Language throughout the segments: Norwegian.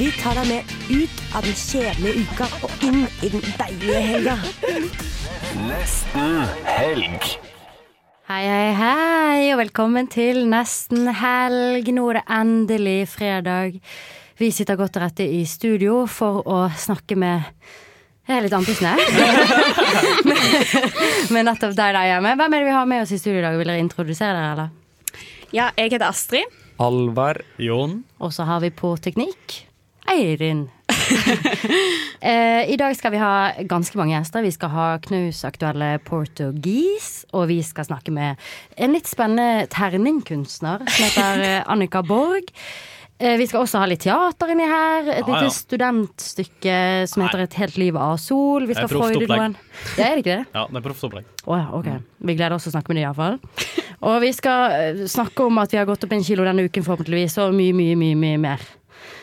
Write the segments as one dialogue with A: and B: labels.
A: Vi tar deg med ut av den kjedelige uka og inn i den deilige helga.
B: Hei, hei, hei, og velkommen til nesten helg. Nå er det endelig fredag. Vi sitter godt til rette i studio for å snakke med Jeg er litt andpusten, jeg. Men nettopp deg der hjemme. Hvem er det vi har med oss i studio i dag? Vil dere introdusere dere, eller?
C: Ja, jeg heter Astrid.
D: Alvar. Jon.
B: Og så har vi på teknikk Eirin. eh, I dag skal vi ha ganske mange gjester. Vi skal ha knusaktuelle portugis. Og vi skal snakke med en litt spennende terningkunstner som heter eh, Annika Borg. Eh, Vi skal også ha litt teater inni her. Et
D: Ja, ja.
B: lite studentstykke som heter Et helt liv av sol. Vi
D: Det er
B: skal
D: proft
B: freude
D: opplegg.
B: noen Ja, er det ikke det?
D: Ja, det er proft opplegg.
B: Å ja, ok. Vi gleder oss til å snakke med dem iallfall. Og vi skal eh, snakke om at vi har gått opp en kilo denne uken, forhåpentligvis, og mye, mye, mye, mye mer.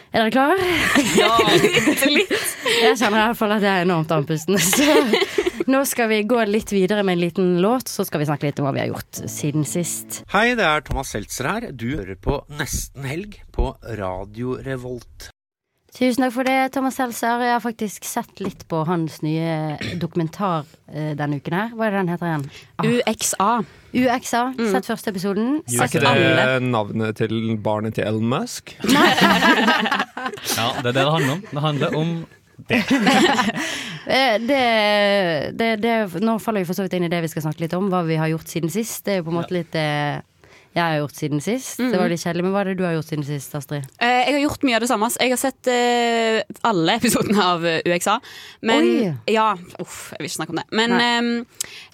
B: Er dere klare? Jeg kjenner iallfall at jeg er enormt andpusten. Så nå skal vi gå litt videre med en liten låt, så skal vi snakke litt om hva vi har gjort siden sist.
E: Hei, det er Thomas Seltzer her. Du hører på Nesten Helg på Radio Revolt.
B: Tusen takk for det, Thomas Seltzer. Jeg har faktisk sett litt på hans nye dokumentar eh, denne uken her. Hva er det den heter igjen? Ah,
C: UXA.
B: UXA. Sett første episoden.
F: Er ikke
C: Alle.
F: det navnet til barnet til Elon Musk?
D: Ja, det er det det handler om. Det handler om
B: Eh, Det, det, det, nå faller vi for så vidt inn i det vi skal snakke litt om, hva vi har gjort siden sist. Det er jo på en måte litt det jeg har gjort siden sist. Det
C: Mhm.
B: var litt kjedelig, men hva er det du har gjort siden sist, Astrid?
C: Eh, jeg har gjort mye av det samme. ass. Jeg har sett eh, alle episodene av eh, UXA. Men
B: Oi.
C: ja, uff, jeg vil ikke snakke om det. Men ehm,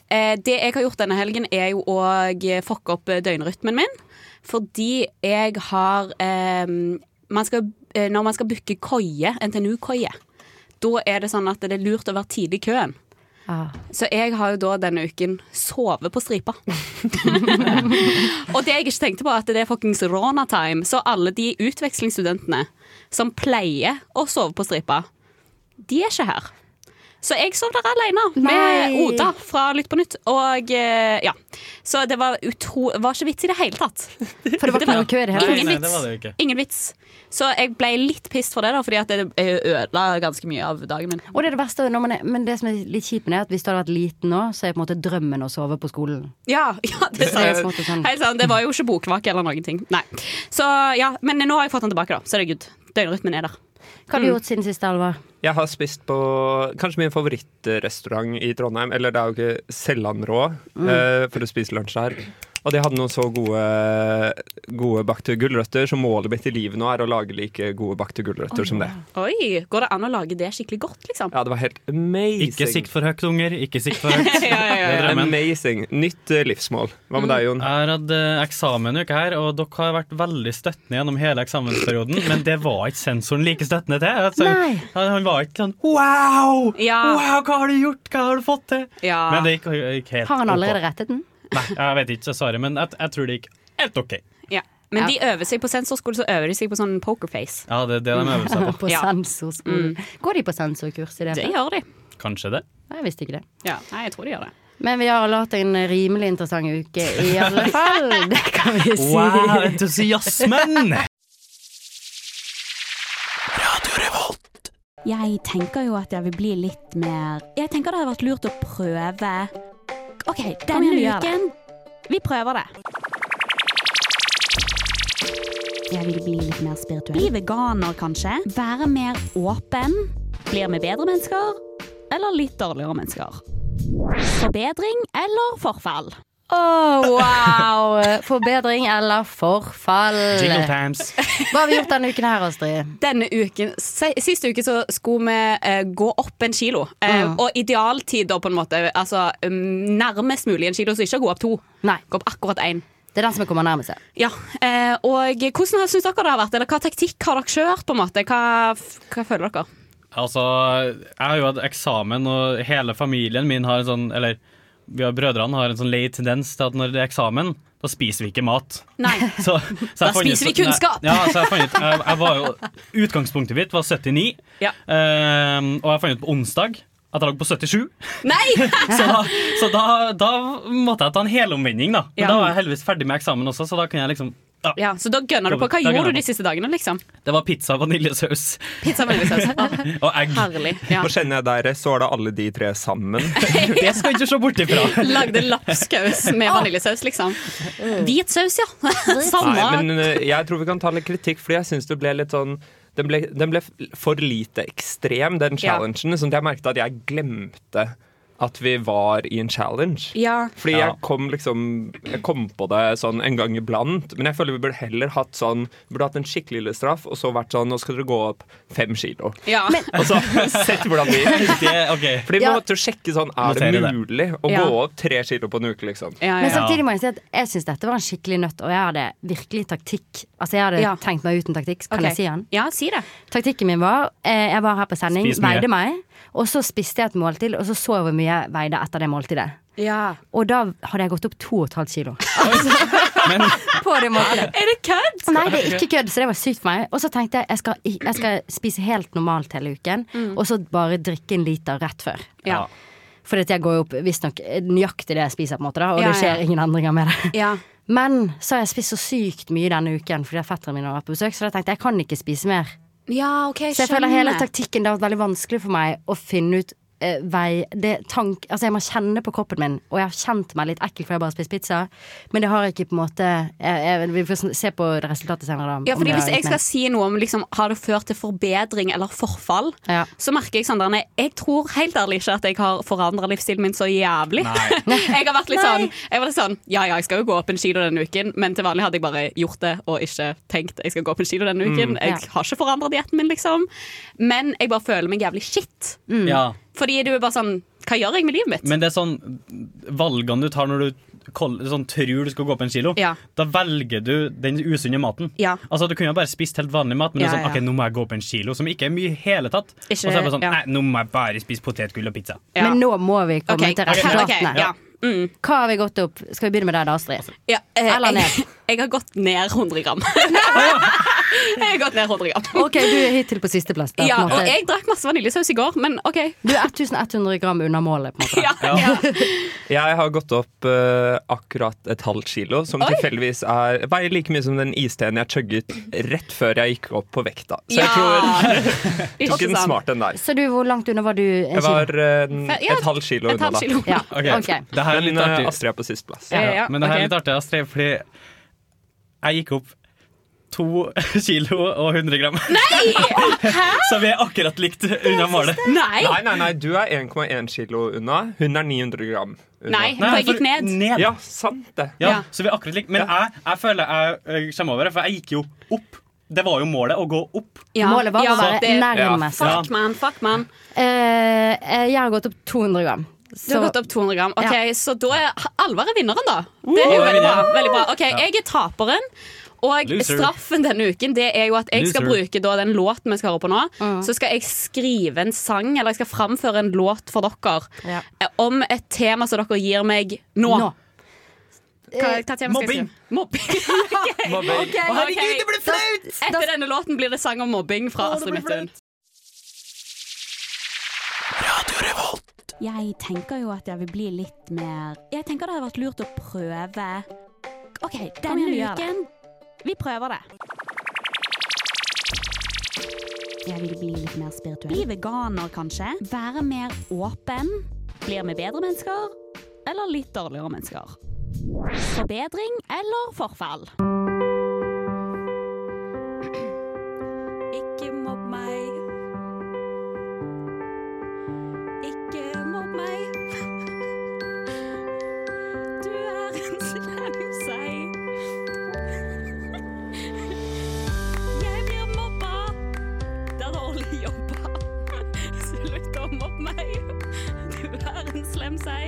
C: eh, det jeg har gjort denne helgen, er jo å fucke opp eh, døgnrytmen min. Fordi jeg har ehm, man skal, eh, Når man skal booke koie, NTNU-koie, da er det sånn at det er lurt å være tidlig i køen.
B: Ah.
C: Så jeg har jo da denne uken sovet på stripa. og det jeg ikke tenkte på, er at det er fuckings Rona-time. Så alle de utvekslingsstudentene som pleier å sove på stripa, de er ikke her. Så jeg sov der alene med
B: Nei.
C: Oda fra Lytt på nytt. Og eh, ja. Så det var, utro var ikke vits i det hele tatt.
B: For det var ikke noe kø i det hele
C: Ingen
B: tatt.
D: Nei,
C: vits.
D: det var det jo ikke.
C: Ingen vits. Så jeg ble litt pissed for det, da, fordi at det eh, ødela ganske mye av dagen min.
B: Og det er det verste, når man er, men det som er litt kjipt med det, er at hvis du hadde vært liten nå, så er på en måte drømmen å sove på skolen.
C: Ja, ja det,
B: Det er
C: er
B: på en måte sånn.
C: Helt sant, det var jo ikke bokvake eller noen ting. Nei. Så ja, men nå har jeg fått den tilbake, da. Så det er good. Døgnrytmen er der. Mm.
B: Hva har du gjort siden sist, Alvar?
F: Jeg har spist på kanskje min favorittrestaurant i Trondheim, eller det er jo ikke Sellandrå,
C: Mm.
F: eh, for å spise lunsj der. Og de hadde noen så gode, gode bakte gulrøtter, så målet mitt i livet nå er å lage like gode bakte gulrøtter som det.
C: Oi, går det an å lage det skikkelig godt, liksom?
F: Ja, det var helt amazing.
D: Ikke sikt for høyt, unger. Ikke sikt for høyt.
C: Ja, ja, Mm. ja,
D: Det er drømmen.
F: Amazing. Nytt eh, livsmål. Hva med deg, Jon?
D: Jeg har hatt eh, eksamen en uke her, og dere har vært veldig støttende gjennom hele eksamensperioden, men det var ikke sensoren like støttende til. Altså,
B: Nei.
D: han, han var ikke sånn Wow!
C: Ja.
D: Wow, hva har du gjort? Hva har du fått til?
C: Ja.
D: Men det gikk, gikk helt
B: Har han
D: ok.
B: allerede rettet den?
D: Nei, jeg vet ikke, svaret, men jeg, jeg tror det gikk helt OK.
C: Ja. Men de øver seg på sensorskole, så øver de seg på sånn pokerface.
D: Ja, det er det de øver seg på.
B: På
C: Ja. Mm.
B: sensorskolen. Går de på sensorkurs i det?
C: Det gjør de.
D: Kanskje det.
B: Nei, jeg visste ikke det.
C: Ja, Nei, jeg tror de gjør det.
B: Men vi har alle hatt en rimelig interessant uke, i alle fall. Det kan vi si.
D: Wow, entusiasmen!
A: Jeg tenker jo at jeg vil bli litt mer Jeg tenker det hadde vært lurt å prøve OK, denne uken Vi prøver det. Jeg vil bli litt mer spirituell. Bli veganer, kanskje. Være mer åpen. Blir vi bedre mennesker? Eller litt dårligere mennesker? Forbedring eller forfall?
B: Åh, wow! Forbedring eller forfall?
D: Jingle times.
B: Hva har vi gjort denne uken her, Astrid?
C: Denne uken, se- Sist uke så skulle vi eh, gå opp en kilo. Eh,
B: Mm.
C: Og idealtid, da, på en måte. Altså mm, nærmest mulig en kilo, så ikke gå opp to.
B: Nei,
C: Gå opp akkurat én.
B: det er den som kommer nærmest. seg.
C: Ja, eh, og hvordan har- synes dere det har vært? Eller hva taktikk har dere kjørt? på en måte? Hva, f- hva føler dere?
D: Altså, jeg har jo hatt eksamen, og hele familien min har en sånn Eller vi har brødrene har en sånn lei tendens til at når det er eksamen, da spiser vi ikke mat.
C: Nei.
D: Så,
C: Da
D: så jeg fant
C: spiser
D: ut-
C: vi kunnskap!
D: Nei, Ja, så jeg fant ut jeg, jeg var jo, Utgangspunktet mitt var 79,
C: Ja.
D: eh, og jeg fant ut på onsdag at jeg lå på 77.
C: Nei!
D: Så, da, så da, da måtte jeg ta en helomvending, da. Men
C: Ja.
D: da var jeg heldigvis ferdig med eksamen også, så da kunne jeg liksom ja.
C: Ja, så da gønner du på. Hva
D: Da gønner
C: gjorde du
D: jeg
C: de siste dagene, liksom?
D: Det var pizza, vaniljesaus
C: Pizza og vaniljesaus. Å,
D: og egg.
C: herlig. Ja.
F: Og kjenner jeg deg rett, så var det alle de tre sammen.
D: Det skal du ikke se bort ifra.
C: Lagde lapskaus med vaniljesaus, liksom.
B: Mm.
C: Hvit saus, ja.
F: Nei,
C: Samme.
F: men eh, jeg tror vi kan ta litt kritikk, fordi jeg syns det ble litt sånn den ble, den ble for lite ekstrem, den
C: Ja.
F: challengen. Sånn at jeg merket at jeg glemte at vi var i en challenge.
C: Ja.
F: Fordi
D: Ja.
F: jeg kom liksom Jeg kom på det sånn en gang iblant, men jeg føler vi burde heller hatt sånn Vi burde hatt en skikkelig lille straff, og så vært sånn Nå skal dere gå opp fem kilo.
C: Ja.
F: Og så sett hvordan det gikk.
D: Det, ok.
F: Fordi vi
B: Ja.
F: måtte jo sjekke sånn Er det
D: Notere det.
F: mulig å
C: Ja.
F: gå opp tre kilo på en uke, liksom?
C: Ja,
B: Men
C: ja.
B: samtidig må jeg si at jeg syns dette var en skikkelig nøtt, og jeg hadde virkelig taktikk. Altså, jeg hadde
C: Ja.
B: tenkt meg ut en taktikk. Kan
C: Ok.
B: jeg si den?
C: Ja, si det.
B: Taktikken min var eh, Jeg var her på sending,
D: Spis mye.
B: veide meg, og så spiste jeg et måltid, og så så jeg hvor mye jeg veide etter det måltidet.
C: Ja.
B: Og da hadde jeg gått opp 2,5 kilo
D: Men
B: på det måltidet.
C: Er det kødd?
B: Nei, det er ikke kødd, så det var sykt for meg. Og så tenkte jeg jeg skal, jeg skal spise helt normalt hele uken, og så bare drikke en liter rett før.
C: Mm. Ja.
B: For jeg går jo opp visstnok nøyaktig det jeg spiser, på en måte da, og
C: Ja,
B: det skjer
C: ja.
B: ingen endringer med det.
C: ja.
B: Men så har jeg spist så sykt mye denne uken fordi at fetteren min har vært på besøk, så da tenkte jeg jeg kan ikke spise mer.
C: Ja, OK,
B: Så jeg føler hele taktikken det har vært veldig vanskelig for meg å finne ut eh, vei det, tank, Altså jeg må kjenne på kroppen min, og jeg har kjent meg litt ekkel fordi jeg bare har spist pizza, men det har jeg ikke på en måte jeg, jeg, Vi får sn- se på det resultatet senere, da.
C: Ja,
B: om
C: fordi
B: det
C: Hvis
B: har
C: jeg
B: gitt
C: skal
B: meg.
C: si noe om liksom, har det ført til forbedring eller forfall,
B: Ja.
C: så merker jeg Sandra, nei, jeg tror helt ærlig ikke at jeg har forandra livsstilen min så jævlig. jeg har vært litt sånn, jeg var litt sånn Ja ja, jeg skal jo gå opp en kilo denne uken, men til vanlig hadde jeg bare gjort det og ikke tenkt jeg skal gå opp en kilo
D: Mm,
C: denne uken. Jeg
B: Ja.
C: har ikke forandra dietten min, liksom. Men jeg bare føler meg jævlig shit.
B: Mm.
D: ja.
C: Fordi du er bare sånn Hva gjør jeg med livet mitt?
D: Men det er sånn valgene du tar når du kol- sånn, tror du skal gå opp en kilo.
C: Ja.
D: Da velger du den usunne maten.
C: Ja.
D: Altså Du kunne jo bare spist helt vanlig mat, men det er
C: Ja,
D: sånn,
C: ja.
D: ok, nå må jeg gå opp en kilo, som ikke er mye i hele tatt.
C: Ikke-
D: og så er det bare sånn,
C: ja.
D: nei, nå må jeg bare spise potetgull og pizza.
C: Ja.
B: Men nå må vi komme
C: Ok,
B: til
C: ok,
B: resultatene.
C: ok, ja. Mm.
B: Hva har vi gått opp? Skal vi begynne med deg da, Astrid?
C: Ja, eh,
B: Eller
C: Jeg, jeg har gått ned 100 gram. jeg har gått ned 100 gram.
B: Ok, du er hittil på sisteplass. da, på
C: Ja,
B: en måte.
C: og jeg drakk masse vaniljesaus i går, men OK.
B: Du er 1100 gram unna målet, på en måte.
C: Ja, ja.
F: Jeg har gått opp eh, akkurat et halvt kilo, som
C: Oi!
F: tilfeldigvis er, veier like mye som den isteen jeg chugget rett før jeg gikk opp på vekta. Så jeg
C: Ja.
F: tror
C: Ikke
F: tok en
C: sant?
F: smart en der.
B: Så du, hvor langt unna var du? En
F: Jeg var eh,
C: Ja,
F: et halvt kilo
C: Et
F: unna,
C: halvt
F: da.
C: kilo.
B: Ja,
D: Ok.
B: ok.
D: Det her er
F: Men
D: litt
F: eh,
D: artig.
F: Astrid er på sisteplass.
C: Ja, ja,
D: Men det her
C: ok.
D: er litt artig, Astrid, fordi jeg gikk opp to kilo og 100 gram. så vi er akkurat likt unna målet.
C: Nei!
F: Nei, nei, nei, du er 1,1 kilo unna. Hun er 900 gram unna.
C: Nei, for jeg
D: for-
C: gikk ned.
D: ned.
F: Ja, sant det.
D: Ja,
C: Ja.
D: så vi er akkurat like. Men jeg, jeg føler jeg, eh, kommer over det, for jeg gikk jo opp. Det var jo målet, å gå opp.
C: Ja,
B: Målet var
C: ja,
B: å være
C: det-
B: nærmest.
D: Ja.
C: Fuck, man. Fuck, man.
B: Eh, eh, jeg har gått opp 200 gram.
C: Du har gått opp 200 gram. Ok, Så da er Alvar er vinneren, da. Det er jo
D: Alvar Uh, er
C: veldig bra.
D: vinneren.
C: Veldig bra. Ok, Jeg er taperen. Og
D: Loser.
C: straffen denne uken Det er jo at jeg skal
D: Loser.
C: bruke da den låten vi skal høre på nå.
B: Mm.
C: Så skal jeg skrive en sang, eller jeg skal framføre en låt for dere
B: Ja.
C: eh, om et tema som dere gir meg nå.
B: Nå.
C: Hva, hva tema skal jeg
D: Mobbing.
C: skrive? Mobbing.
F: Mobbing.
C: Ok, ok.
B: ble flaut!
C: Etter denne låten blir det sang om mobbing fra Astrid Midthun.
A: Jeg tenker jo at jeg vil bli litt mer Jeg tenker det hadde vært lurt å prøve. OK, denne uken Vi prøver det. Jeg vil bli litt mer spirituell. Bli veganer, kanskje. Være mer åpen. Blir vi bedre mennesker? Eller litt dårligere mennesker? Forbedring eller forfall? Ikke mobb meg. Ikke mobb meg. Du er en slem sei. Jeg blir mobba. Det er dårlig jobba. Slutt å mobbe meg. Du er en slem sei.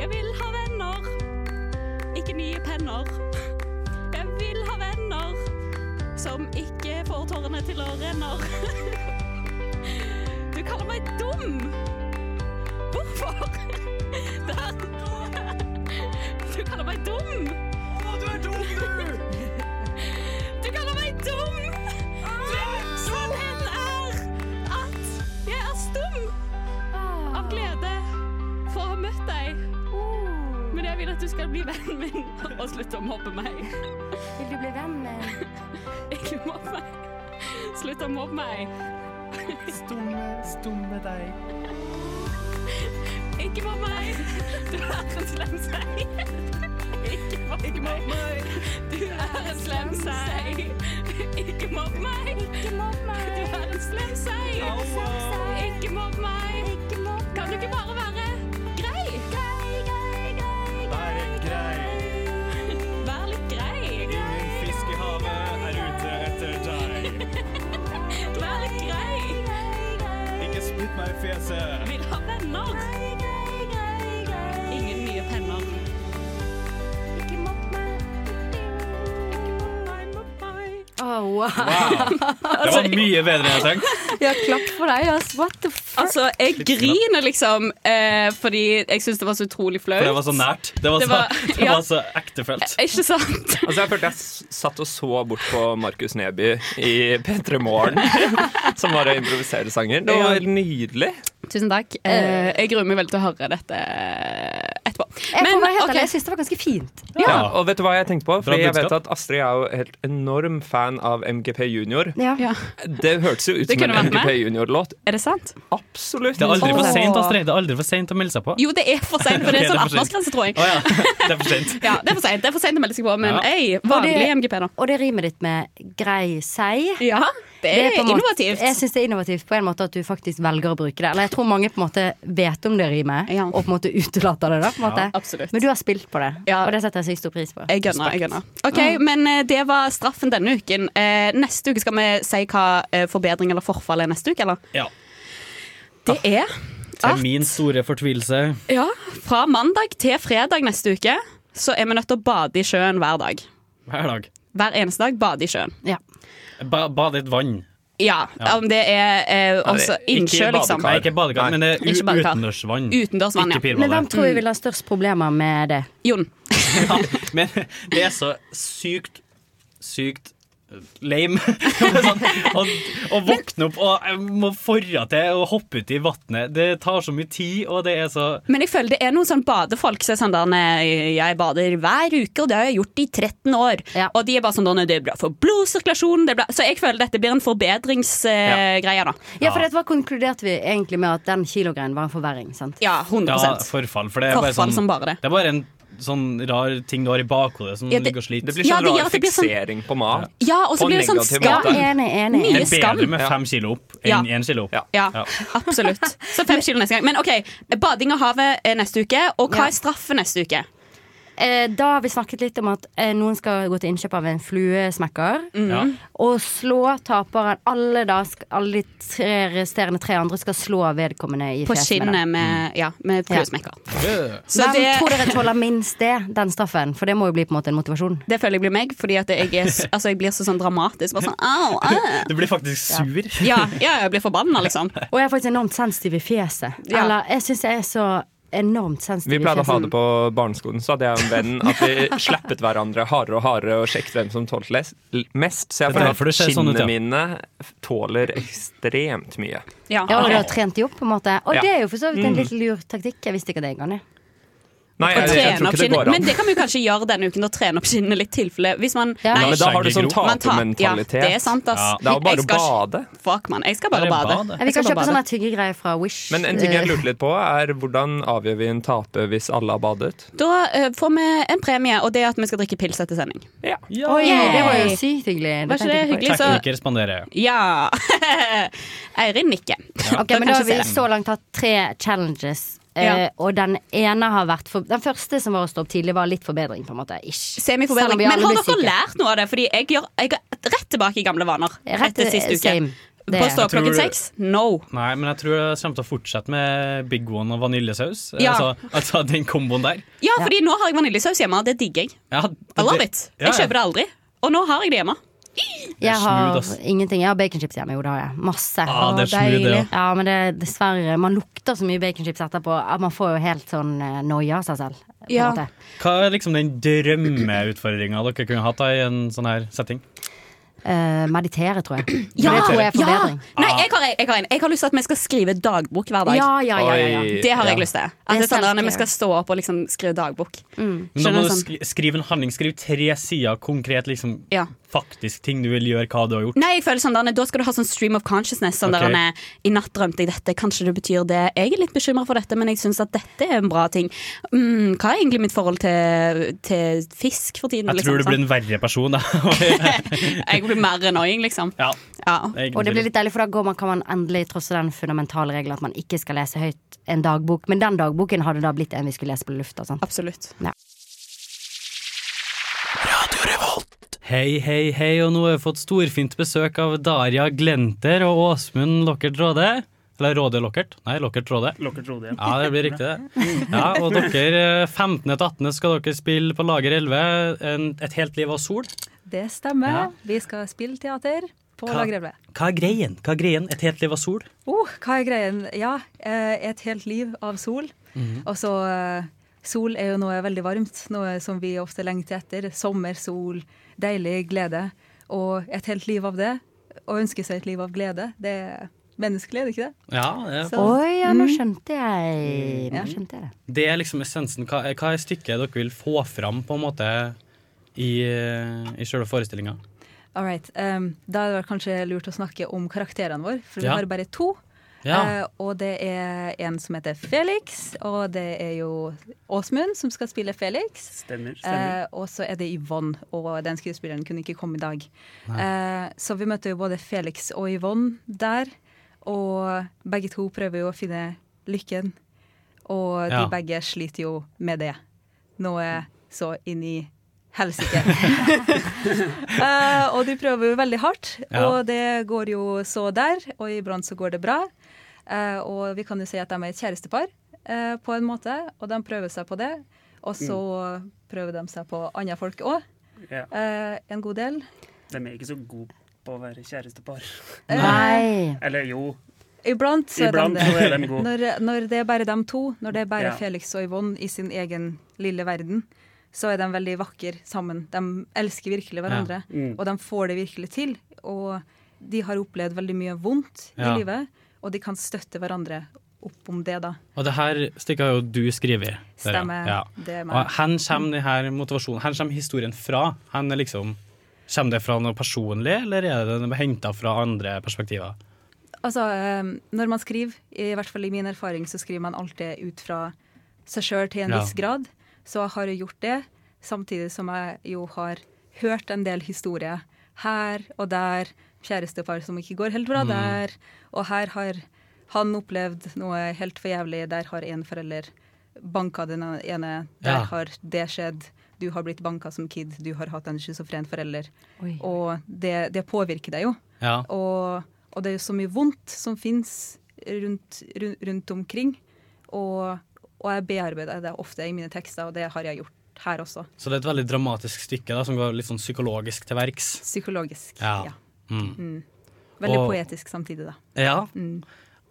A: Jeg vil ha venner. Ikke nye penner. Jeg vil ha venner som ikke får tårene til å renne.
C: du kaller meg dum? Hvorfor? Der. Du kaller meg dum. Å, du er dum, du! Du kaller meg dum! Men sannheten er at jeg er stum
B: Ah.
C: av glede for å ha møtt deg.
B: Oh.
C: Men jeg vil at du skal bli vennen min og slutte å mobbe meg.
B: Vil du bli venn med
C: Ikke mobb meg. Slutt å mobbe meg. Stumme, stumme deg. Ikke mobb meg. Du er en slem sei. Ikke mobb meg. Du er en slem sei. Ikke mobb meg. Du er en slem sei. Ikke mobb meg. Kan du ikke bare være grei? Grei, grei, grei,
G: Være grei.
C: Vær litt grei.
G: Ingen fisk i havet er ute etter deg.
C: Vær litt grei.
G: Ikke spytt meg i fjeset.
C: Vil ha venner. Ingen nye penner.
B: Oh, wow.
D: Det var mye bedre enn jeg tenkte.
B: Ja, klapp for deg, ass. What the fuck?
C: Altså, jeg griner liksom eh, fordi jeg syns det var så utrolig
D: For det var
C: flaut.
D: så nært. Det var
C: Det
D: så,
C: var-
D: det
C: ja.
D: var så ektefølt.
C: Ikke sant?
F: Altså, jeg følte jeg s- satt og så bort på Markus Neby i P3 Morgen, som var å improvisere sanger. Det var helt nydelig.
C: Tusen takk. Eh, jeg gruer meg veldig til å høre dette etterpå.
B: Jeg, men, helt
C: ok.
B: ærlig, jeg syns det var ganske fint.
F: Ja, og vet du hva jeg tenkte på? Fordi jeg vet
D: budskap.
F: at Astrid er jo helt enorm fan av MGP Junior.
B: Ja.
C: ja.
F: Det hørtes jo ut
C: Det
F: som en
C: kunne vært meg.
F: MGP Junior-låt.
C: Er det sant?
F: Absolutt.
D: Det er aldri for
B: Åh.
D: sent, Astrid. Det er aldri for sent å melde seg på.
C: Jo, det er for seint, for det er sånn
D: Ok, det er for sent.
C: 18-årsgrense, tror jeg.
D: Å ja. Det er for sent.
C: Ja, det er for sent Det er for sent å melde seg på, men
D: Ja.
C: ei, vanlig
B: Og
C: MGP, da.
B: Og det rimet ditt med grei sei
C: Ja, det
B: Det
C: er
B: på en måte-
C: innovativt.
B: Jeg syns det er innovativt på en måte at du faktisk velger å bruke det. Eller jeg tror mange på en måte vet om det rimet,
C: Ja.
B: og på en måte utelater det. da på en måte
C: Absolutt.
B: Men du har spilt på det,
C: Ja.
B: og det setter jeg sykt stor pris på.
C: Jeg gønner, jeg gønner. Ok, men eh, det var straffen denne uken. Eh, Neste uke skal vi si hva eh, forbedring eller forfall er neste uke, eller?
D: Ja.
C: Det er
D: Til min store fortvilelse.
C: ja, fra mandag til fredag neste uke så er vi nødt til å bade i sjøen hver dag.
D: Hver dag.
C: Hver eneste dag bade i sjøen.
B: Ja.
D: Ba, bade i et vann.
C: Ja, om det er eh, også
F: ikke
C: innsjø, liksom.
F: badekar.
D: Nei, ikke badekar, men det er
C: Ikke
D: u-
C: badekar.
D: utendørsvann.
C: Utendørsvann, ja.
D: Ikke
B: Men
D: pirbadet.
B: hvem tror jeg vil ha størst problemer med det?
C: Jon.
D: Ja, men det er så sykt, sykt lame sånn, å, å våkne opp og jeg må forre til og hoppe uti vannet. Det tar så mye tid, og det er så
C: Men jeg føler det er noen sånn badefolk som er sånn der nei, Jeg bader hver uke, og det har jeg gjort i 13 år.
B: Ja.
C: Og de er bare sånn der nei, det er bra for blodsirkulasjonen. det er bra- Så jeg føler dette blir en forbedringsgreie, da.
B: Ja, for det var konkluderte vi egentlig med at den kilogreien var en forverring. sant?
C: Ja, 100
D: ja, forfall. For det er bare
C: Forfall
D: sånn
C: som bare det.
D: Det er bare en sånn rar ting du har i bakhodet som
C: Ja, det-
D: ligger og
F: Det
D: sliter.
F: blir
C: Ja,
F: sånn
C: det gjør
F: rar
C: at det blir sånn-
F: fiksering på mat.
C: Ja, og så
F: På
C: blir det sånn
F: negativ
B: Ja,
C: skam.
F: måte.
B: enig, enig.
D: Det
C: Mye
D: er
C: skam.
D: bedre med
F: Ja.
D: fem kilo opp
C: Ja.
D: enn én kilo opp.
F: Ja.
C: Ja,
D: Ja.
C: absolutt. Så fem kilo neste gang. Men OK, bading av havet er neste uke. Og
B: Ja.
C: hva er straffen neste uke?
B: Eh, Da har vi snakket litt om at eh, noen skal gå til innkjøp av en fluesmekker.
C: Mhm.
D: Ja.
B: Og slå taperen. Alle, da, sk- alle de tre resterende tre andre skal slå vedkommende i
C: På
B: fjeset. med den.
C: skinnet med, ja, med
B: Ja.
C: fluesmekker. Så
B: Hvem
C: det,
B: tror dere tåler minst det, den straffen? For det må jo bli på en måte en motivasjon.
C: det føler jeg blir meg, fordi at jeg, er, s- altså, jeg blir så sånn dramatisk. Bare sånn, au, au.
D: Du blir faktisk sur.
C: Ja, ja, jeg blir forbanna, liksom.
B: Og jeg er faktisk enormt sensitiv i fjeset.
C: Ja.
B: Eller jeg syns jeg er så enormt sensitiv
F: Vi
B: i
F: pleide å ha
B: fjeset.
F: det på barneskolen, så hadde jeg en venn at vi slappet hverandre hardere og hardere og sjekket hvem som tålte les- l- mest. Så jeg
D: Det er
F: føler
D: derfor det
F: at
D: ser sånn ut,
F: skinnene
D: ja.
F: mine tåler ekstremt mye.
C: Ja.
B: Ja, og du har trent de opp, på en måte. Og
F: Ja.
B: det er jo for så
D: Mm.
B: vidt en litt lur taktikk. Jeg visste ikke det engang. jeg.
F: Nei,
C: Å
F: jeg, jeg,
C: trene
F: tror
C: opp
F: ikke det
C: skinnet.
F: går
C: Men
F: an.
C: det kan vi jo kanskje gjøre denne uken, å trene opp skinnet litt, tilfelle hvis man
B: Ja.
F: Ja,
C: Nei,
F: men da har du sånn
D: Skjeggegrop.
C: man tar- ja,
F: tapermentalitet.
C: det er sant, ass.
F: Det er jo
C: Jeg
F: bare å
C: skal ikke-
F: bade.
C: Fuck, mann. Jeg skal bare
D: Bare
C: bade.
D: bade.
B: Vi
C: Jeg skal bare
B: kan kjøpe sånn sånne
C: bade.
B: tyggegreier fra Wish.
F: Men en ting jeg
B: eh,
F: lurte litt på, er hvordan avgjør vi en taper hvis alle har badet?
C: Da eh, får vi en premie, og det er at vi skal drikke pils etter sending.
F: Ja.
B: Oi,
C: Yay!
B: det var jo sykt hyggelig.
C: Var ikke
B: tenkte
C: det
B: jeg på.
C: hyggelig? Så
D: Tekniker spanderer.
C: ja. Eirin nikker.
B: Ok, men da har vi
C: kanskje
B: så langt hatt tre challenges. Eh,
C: Ja.
B: og den ene har vært for, Den første som var å stå opp tidlig, var litt forbedring, på en måte. Ish. Selv om
C: Semiforbedring.
B: vi
C: Men
B: alle
C: har
B: ble
C: dere
B: syke.
C: lært noe av det? Fordi jeg, gjør, jeg er rett tilbake i gamle vaner.
B: Rett- eh,
C: Etter sist uke.
B: same. Det-
C: På å stå opp
D: Jeg tror-
C: klokken seks? No.
D: Nei, men jeg tror jeg kommer til å fortsette med Big One og vaniljesaus.
C: Ja.
D: Altså, altså den komboen der.
C: Ja, fordi nå har jeg vaniljesaus hjemme. Det digger jeg.
D: Ja,
C: I love
D: det-
C: it.
D: Ja,
C: Jeg
D: ja.
C: kjøper det aldri. Og nå har jeg det hjemme.
B: Jeg
D: smooth,
B: har
D: ass.
B: ingenting. Jeg har baconchips hjemme. Jo, det har jeg. Masse.
D: Ah, det er smooth, det, ja.
B: Ja, men det, er dessverre. Man lukter så mye baconchips etterpå at man får jo helt sånn eh, noia av seg selv. på en
C: Ja.
B: måte.
D: Hva er liksom den drømmeutfordringa dere kunne hatt da i en sånn her setting?
B: Eh, meditere, tror jeg.
C: Ja!
B: det tror jeg er
C: ja!
B: forbedring.
C: Nei,
D: Ah.
C: jeg har, en- jeg har en. Jeg har lyst til at vi skal skrive dagbok hver dag.
B: Ja, ja, ja. ja, ja.
F: Oi.
C: Det har jeg
F: Ja.
C: lyst til.
B: Det
C: At
B: er Mm.
C: det er sånn,
B: self-care.
C: at vi skal stå opp og liksom skrive dagbok.
D: Men da må
C: Skjønner
D: du
C: sånn.
D: skri skrive en handling. Skriv tre sider konkret, liksom
C: Ja.
D: faktisk ting du vil gjøre, hva du har gjort.
C: Nei, jeg føler sånn, Danne, Da skal du ha sånn stream of consciousness. Sånn
D: Ok.
C: der, Danne, I natt drømte jeg dette, kanskje det betyr det. Jeg er litt bekymra for dette, men jeg syns at dette er en bra ting. Mm, hva er egentlig mitt forhold til, til fisk for tiden?
D: Jeg tror du blir en verre person, da. ja,
C: sånn? Jeg blir mer annoying, liksom. Ja.
D: det er ikke
B: Og det blir
D: noe tvil.
B: litt deilig, for da går man, kan man endelig trosse den fundamentale regelen at man ikke skal lese høyt en dagbok. Men den dagboken hadde da blitt en vi skulle lese på lufta. sant?
C: Absolutt.
D: Hei, hei, hei, og nå har vi fått storfint besøk av Daria Glenter og Åsmund Lockert Råde. Eller Råde Lockert? Nei, Lockert Råde.
H: Lockert Rode, ja.
D: Ja, det blir riktig, det. Ja, Og dere eh, 15. til 18. skal dere spille på Lager 11. En, et helt liv av sol.
I: Det stemmer.
D: Ja.
I: Vi skal spille teater på
D: Hva-
I: Lagrevle.
D: Hva er greien? Hva er greien? Et helt liv av sol?
I: Oh, hva er greien? Ja, eh, et helt liv av sol.
D: Mhm.
I: Og så eh, Sol er jo noe veldig varmt, noe som vi ofte lengter etter. Sommer, sol, deilig glede. Og et helt liv av det, å ønske seg et liv av glede, det er menneskelig, er det ikke det?
D: Ja, det,
I: Så-
B: Oi, ja,
D: Mm.
B: nå skjønte jeg.
I: Mm. Ja.
B: Nå skjønte jeg det.
D: det er liksom essensen. Hva, er- hva er stykket dere vil få fram, på en måte, i, eh, i sjølve forestillinga?
I: All right. em, da er det vel kanskje lurt å snakke om karakterene våre, for vi
D: Ja.
I: har bare to.
D: Ja.
I: Eh, og det er en som heter Felix, og det er jo Åsmund som skal spille Felix.
H: Stemmer. stemmer.
I: Eh, og så er det Yvonne, og den skuespilleren kunne ikke komme i dag. Eh, så vi møtte jo både Felix og Yvonne der, og begge to prøver jo å finne lykken. Og de
D: Ja.
I: begge sliter jo med det. Noe så inn i helsike. eh, og de prøver jo veldig hardt,
D: Ja.
I: og det går jo så der, og iblant så går det bra. Eh, og vi kan jo si at de er et kjærestepar eh, på en måte, og de prøver seg på det. Og så
D: Mm.
I: prøver de seg på andre folk òg,
H: Ja.
I: eh, en god del.
H: De er ikke så gode på å være kjærestepar.
B: Nei.
H: Eller jo,
I: Iblant så er
H: iblant
I: de
H: så
I: det.
H: er de gode.
I: Når, når det er bare dem to, når det er bare
H: Ja.
I: Felix og Yvonne i sin egen lille verden, så er de veldig vakre sammen. De elsker virkelig hverandre,
H: Mm.
I: og de får det virkelig til. Og de har opplevd veldig mye vondt
D: Ja.
I: i livet, og de kan støtte hverandre opp om det, da.
D: Og det her stykket har jo du skrevet. Daria.
I: Stemmer.
D: Ja.
I: Det er
D: Og
I: meg.
D: hen kommer det her motivasjonen Hen kommer historien fra? Hen er liksom Kommer det fra noe personlig, eller er det henta fra andre perspektiver?
I: Altså, eh, når man skriver, i hvert fall i min erfaring, så skriver man alltid ut fra seg sjøl til en
D: Ja.
I: viss grad. Så jeg har jo gjort det, samtidig som jeg jo har hørt en del historier her og der. Kjærestepar som ikke går helt bra
D: Mm.
I: der. Og her har han opplevd noe helt for jævlig. Der har en forelder banka den ene. Der
D: Ja.
I: har det skjedd. Du har blitt banka som kid. Du har hatt en schizofren forelder.
B: Oi.
I: Og det, det påvirker deg jo.
D: Ja.
I: Og, og det er jo så mye vondt som fins rundt, rundt, rundt omkring. Og, og jeg bearbeider det ofte i mine tekster, og det har jeg gjort her også.
D: Så det er et veldig dramatisk stykke da, som går litt sånn psykologisk til verks.
I: Psykologisk.
D: Ja.
I: Ja.
D: Mm.
I: Veldig
D: Og-
I: poetisk samtidig, da.
D: Ja.
I: Mm.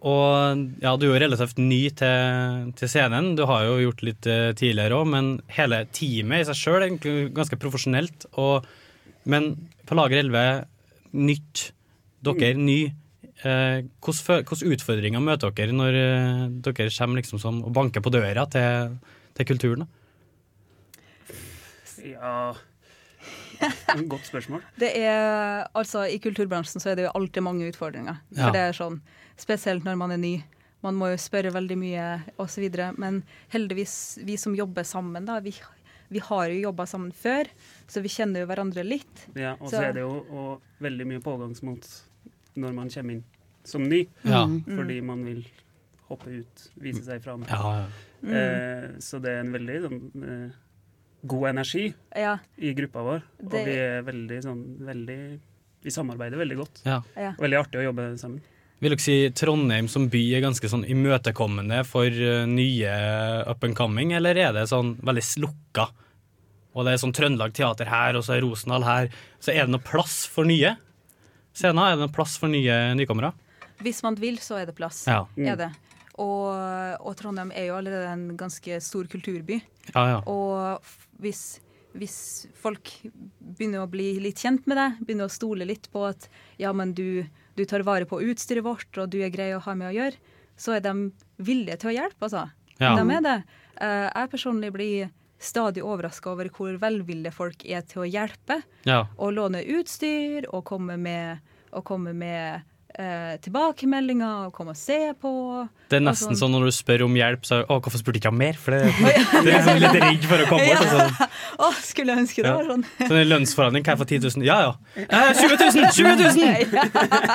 D: Og ja, du er jo relativt ny til, til scenen. Du har jo gjort litt eh, tidligere òg, men hele teamet i seg sjøl er egentlig ganske profesjonelt. Og, men på Lager 11, nytt. Dere
I: Mm.
D: ny. Eh, hvordan fø- hvordan utfordringer møter dere når eh, dere kommer liksom som, og banker på døra til, til kulturen? da?
H: Ja Godt spørsmål.
I: Det er, altså, I kulturbransjen så er det jo alltid mange utfordringer.
D: Ja.
I: For det er sånn, Spesielt når man er ny. Man må jo spørre veldig mye osv. Men heldigvis, vi som jobber sammen, da, vi, vi har jo jobba sammen før, så vi kjenner jo hverandre litt.
H: Ja, og så
I: Så-
H: er det jo og, veldig mye pågangsmot når man kommer inn som ny,
D: Ja.
H: fordi man vil hoppe ut, vise seg fram.
D: Ja, ja.
I: Mm.
H: Eh, så det er en veldig sånn, eh, god energi
I: Ja,
H: i gruppa vår, og
I: Det-
H: vi er veldig sånn veldig Vi samarbeider veldig godt.
D: ja.
I: ja.
H: Veldig artig å jobbe sammen.
D: Vil dere si Trondheim som by er ganske sånn imøtekommende for eh, nye up and coming, eller er det sånn veldig s- lukka? og det er sånn Trøndelag Teater her, og så er Rosendal her, så er det noe plass for nye scener? Er det noe plass for nye nykommere?
I: Hvis man vil, så er det plass.
D: Ja. Mm.
I: Er det. Og, og Trondheim er jo allerede en ganske stor kulturby.
D: Ja, ja.
I: Og f- hvis, hvis folk begynner å bli litt kjent med deg, begynner å stole litt på at ja, men du, du tar vare på utstyret vårt, og du er grei å ha med å gjøre, så er de villige til å hjelpe, altså.
J: Ja.
I: De er det. Eh, Jeg personlig blir stadig overraska over hvor velvillige folk er til å hjelpe
D: Ja.
I: å låne utstyr og komme med, og komme med eh, tilbakemeldinger og komme og se på.
D: Det er
I: og
D: nesten
I: sånn.
D: sånn når du spør om hjelp, så er det, Å, hvorfor spurte ikke jeg om mer? For det, det er liksom litt redd for å komme bort. og sånn.
I: Å, skulle jeg ønske det
D: Ja.
I: var sånn.
D: Sånn i lønnsforhandling, kan jeg få 10 000? Ja ja. Eh, 20 000! 20 000!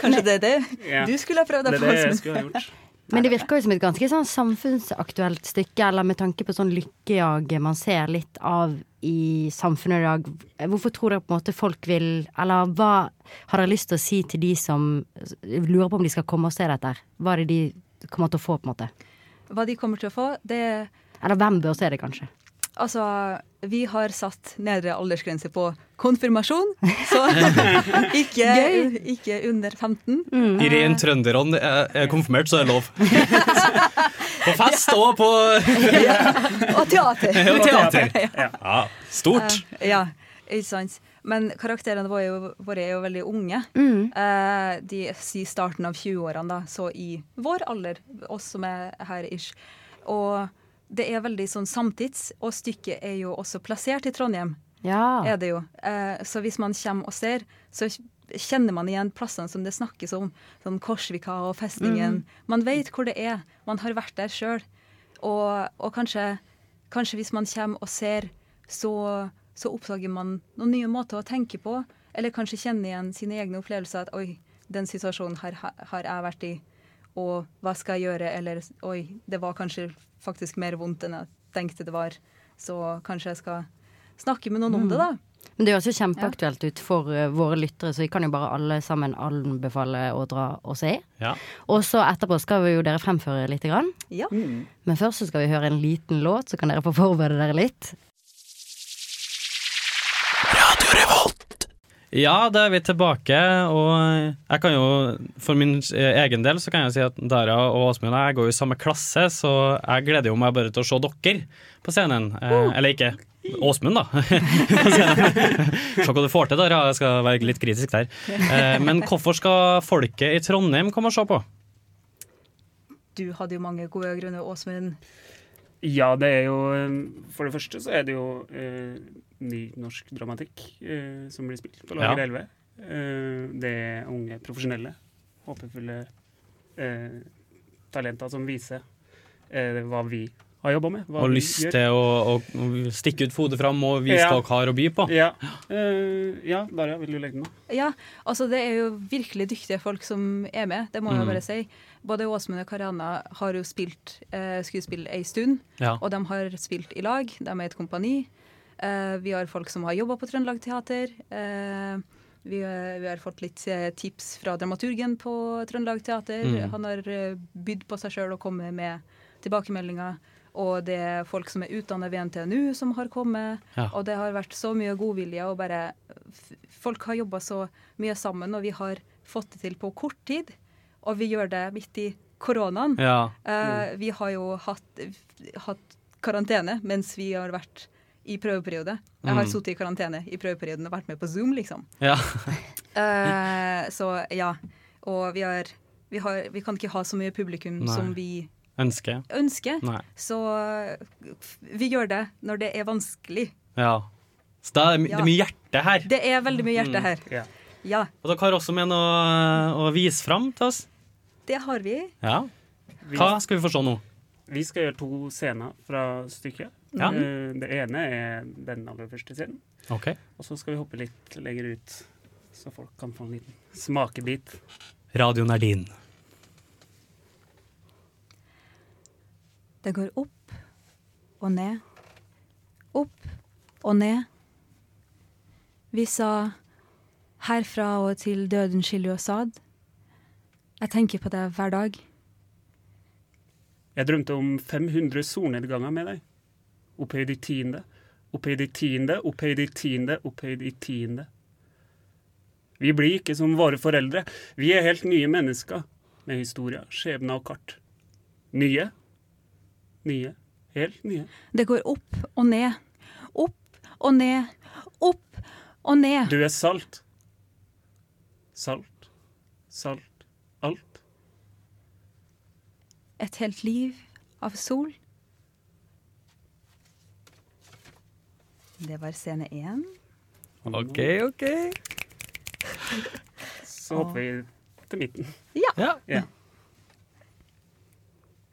I: Kanskje det er det
D: Ja.
I: du skulle ha prøvd
D: Det
I: deg
D: er
I: på.
D: det jeg
I: Åsmund.
D: skulle ha gjort.
B: Men det virker jo som et ganske sånn samfunnsaktuelt stykke, eller med tanke på sånn lykkejag man ser litt av i samfunnet i dag. Hvorfor tror dere på en måte folk vil Eller hva har dere lyst til å si til de som lurer på om de skal komme og se dette? her? Hva er det de kommer til å få, på en måte?
I: Hva de kommer til å få, det er
B: Eller hvem bør se det, kanskje?
I: Altså, vi har satt nedre aldersgrense på konfirmasjon, så ikke, ikke under 15.
D: I ren trønderånd er er konfirmert, så er det lov. På fest og på
I: Og teater.
D: og teater. Ja, stort.
I: Eh, ja, ikke sant. Men karakterene våre, er jo- våre er jo veldig unge.
B: Mm.
I: Eh, de sier starten av 20-årene, da, så i vår alder, oss som er her ish. Og det er veldig sånn samtids, og stykket er jo også plassert i Trondheim.
B: Ja.
I: Er det jo. Eh, så hvis man kommer og ser, så kjenner man igjen plassene som det snakkes om. Sånn Korsvika og festningen.
B: Mm.
I: Man vet hvor det er. Man har vært der sjøl. Og, og kanskje, kanskje hvis man kommer og ser, så, så oppdager man noen nye måter å tenke på. Eller kanskje kjenner igjen sine egne opplevelser. At oi, den situasjonen har, har jeg vært i. Og hva skal jeg gjøre? Eller oi, det var kanskje faktisk mer vondt enn jeg tenkte det var. Så kanskje jeg skal snakke med noen
B: Mm.
I: om det, da.
B: Men det høres jo kjempeaktuelt ut for eh, våre lyttere, så vi kan jo bare alle sammen anbefale å dra og se.
D: Ja.
B: Og så etterpå skal vi jo dere fremføre lite grann.
I: Ja.
D: Mm.
B: Men først så skal vi høre en liten låt, så kan dere få forberede dere litt.
D: Ja, da er vi tilbake, og jeg kan jo for min egen del så kan jeg si at Dara og Åsmund og jeg går jo i samme klasse, så jeg gleder jo meg bare til å se dere på scenen. Eh, eller ikke Åsmund, da. På scenen. se hva du får til, Dara. Jeg skal være litt kritisk der. Eh, men hvorfor skal folket i Trondheim komme og se på?
I: Du hadde jo mange gode grunner, Åsmund.
H: Ja, det er jo eh, For det første så er det jo eh, ny norsk dramatikk eh, som blir spilt på Lager
D: Ja.
H: 11. Eh, det er unge profesjonelle, håpefulle eh, talenter som viser eh, hva vi har jobba med. Hva
D: Og
H: vi
D: lyst
H: gjør.
D: til å, å stikke ut hodet fram og vise
H: Ja.
D: hva dere har å by på?
H: Ja. Eh, ja, Darja, vil du legge den nå?
I: Ja, altså det er jo virkelig dyktige folk som er med, det må jeg
H: Mm.
I: bare si. Både Åsmund og Karianna har jo spilt eh, skuespill ei stund,
J: Ja.
I: og de har spilt i lag, de er et kompani. Eh, vi har folk som har jobba på Trøndelag Teater. Eh, vi, eh, vi har fått litt eh, tips fra dramaturgen på Trøndelag Teater.
J: Mm.
I: Han har eh, bydd på seg sjøl og kommet med tilbakemeldinger. Og det er folk som er utdanna ved NTNU som har kommet.
J: Ja.
I: Og det har vært så mye godvilje og bare f- Folk har jobba så mye sammen, og vi har fått det til på kort tid. Og vi gjør det midt i koronaen.
D: Ja.
I: Eh, vi har jo hatt, hatt karantene mens vi har vært i prøveperiode. Jeg har
D: Mm.
I: sittet i karantene i prøveperioden og vært med på Zoom, liksom.
D: Ja.
I: Eh, så ja. Og vi har, vi har Vi kan ikke ha så mye publikum
D: Nei.
I: som vi
D: Ønske?
I: ønsker.
D: Nei.
I: Så f- vi gjør det når det er vanskelig.
D: Ja. Så da er det my- det er mye hjerte her.
I: Det er veldig mye hjerte
D: Mm.
I: her.
D: Ja.
I: Ja,
D: Og dere har også med noe eh, å vise fram til oss.
I: det har vi.
D: Ja. Hva skal vi få se nå?
H: Vi skal gjøre to scener fra stykket.
D: Ja.
H: Eh, det ene er den aller første scenen.
D: Ok.
H: Og så skal vi hoppe litt lenger ut, så folk kan få en liten smakebit.
D: Radioen er din.
I: Den går opp og ned. Opp og ned. Vi sa 'herfra og til døden skiller oss ad'. Jeg tenker på det hver dag.
H: Jeg drømte om 500 solnedganger med deg. Opphøyd i tiende. opphøyd i tiende, opphøyd i tiende, opphøyd i tiende. Vi blir ikke som våre foreldre. Vi er helt nye mennesker med historie, skjebne og kart. Nye. Nye. Helt nye.
I: Det går opp og ned. Opp og ned. Opp og ned.
H: Du er salt. Salt. Salt. Alt.
I: Et helt liv av sol. Det var scene én.
F: OK, OK.
H: Så hopper vi til midten.
I: Ja.
H: Ja.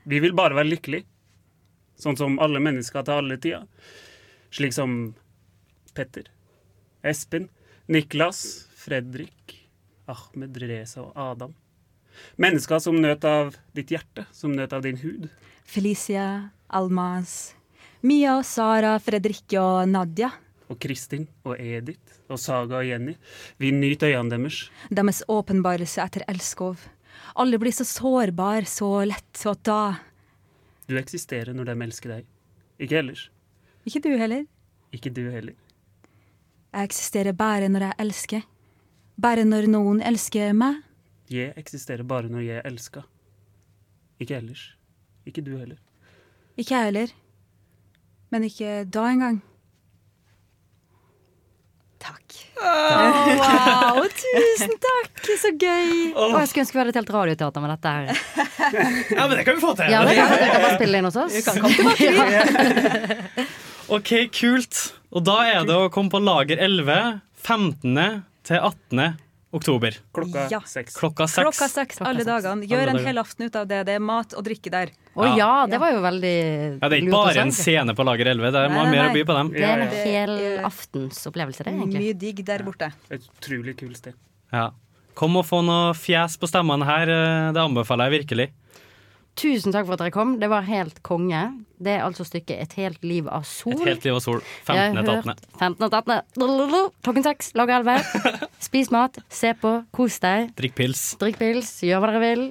H: Vi vil bare være lykkelige, sånn som alle mennesker til alle tider. Slik som Petter, Espen, Niklas, Fredrik, Ahmed, Reza og Adam. Mennesker som nøt av ditt hjerte, som nøt av din hud.
I: Felicia, Almas, Mia, Sara, Fredrikke og Nadia.
H: Og Kristin og Edith og Saga og Jenny. Vi nyter øynene deres.
I: Deres åpenbarelse etter elskov. Alle blir så sårbare så lett, og da
H: Du eksisterer når de elsker deg. Ikke ellers.
I: Ikke du heller.
H: Ikke du heller.
I: Jeg eksisterer bare når jeg elsker. Bare når noen elsker meg.
H: Jeg eksisterer bare når jeg elsker. Ikke ellers. Ikke du heller.
I: Ikke jeg heller. Men ikke da engang.
B: wow, tusen takk! Så gøy! Å, jeg skulle ønske vi hadde et helt radioteater med dette her.
D: Ja, men det kan vi få til.
B: Ja, det kan, dere kan bare spille inn hos oss.
D: OK, kult. Og da er det å komme på Lager 11 15. til 18. oktober.
H: Klokka
I: Ja.
H: seks.
D: Klokka seks.
I: Klokka seks alle dagene. Gjør
D: Alle
I: en
D: dager.
I: hel aften ut av det. Det er mat og drikke der.
B: Å ja, det var jo veldig
D: Ja, det er ikke bare en scene på Lager 11. Det er
I: Nei, nei,
D: mer å
I: nei.
D: by på dem.
B: Det er en hel aftensopplevelse, det, egentlig.
I: Mye digg der borte.
H: Et utrolig kult sted.
D: Ja. Kom og få noe fjes på stemmene her. eh, Det anbefaler jeg virkelig.
B: Tusen takk for at dere kom. Det var helt konge. Det er altså stykket Et helt liv av sol.
D: Et helt liv av sol.
B: Jeg har
D: 15.
B: hørt
D: etappene.
B: 15. etappene. Blablabla. Klokken seks, lag elleve. Spis mat, se på, kos deg.
D: Drikk pils.
B: Drikk pils, gjør hva dere vil.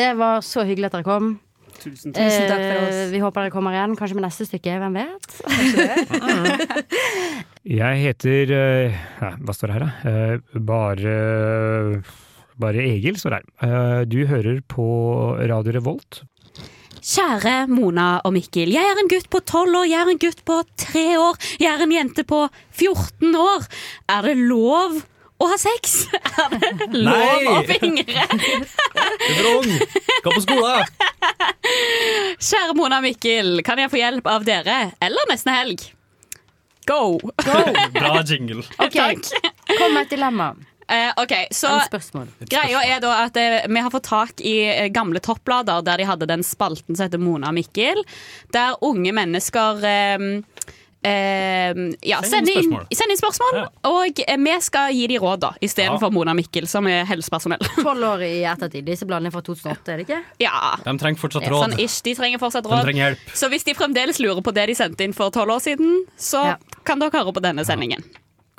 B: Det var så hyggelig at dere kom.
H: Tusen
I: takk. Tusen takk for oss.
B: Eh, Vi håper dere kommer igjen, kanskje med neste stykke. Hvem vet?
J: Jeg heter eh, ja, Hva står det her, da? Eh, Bare Bare Egil står det her. Eh, Du hører på Radio Revolt.
C: Kjære Mona og Mikkel. Jeg er en gutt på tolv år, jeg er en gutt på tre år, jeg er en jente på 14 år. Er det lov å ha sex? Er det lov
G: Nei.
C: å fingre?
G: Du er for ung! Gå på skolen!
C: Kjære Mona og Mikkel, kan jeg få hjelp av dere? Eller nesten helg? Go!
D: Bra jingle.
B: Ok, Kom med et dilemma.
C: Eh, ok, så
B: Eller spørsmål.
C: Greia er da at eh, vi har fått tak i eh, gamle topplader der de hadde den spalten som heter Mona og Mikkel, der unge mennesker eh, eh, ja,
G: Send
C: sender
G: inn
C: inn,
G: spørsmål.
C: send inn spørsmål, og eh, vi skal gi dem råd, da, istedenfor Mona og Mikkel, som er helsepersonell.
B: Tolv år i ettertid. Disse bladene er fra 2008, er det ikke?
C: Ja.
D: De trenger fortsatt
C: Ja,
D: råd.
C: Sånn ish, de trenger fortsatt
D: De
C: råd.
D: trenger hjelp.
C: Så hvis de fremdeles lurer på det de sendte inn for tolv år siden, så kan dere høre på denne sendingen.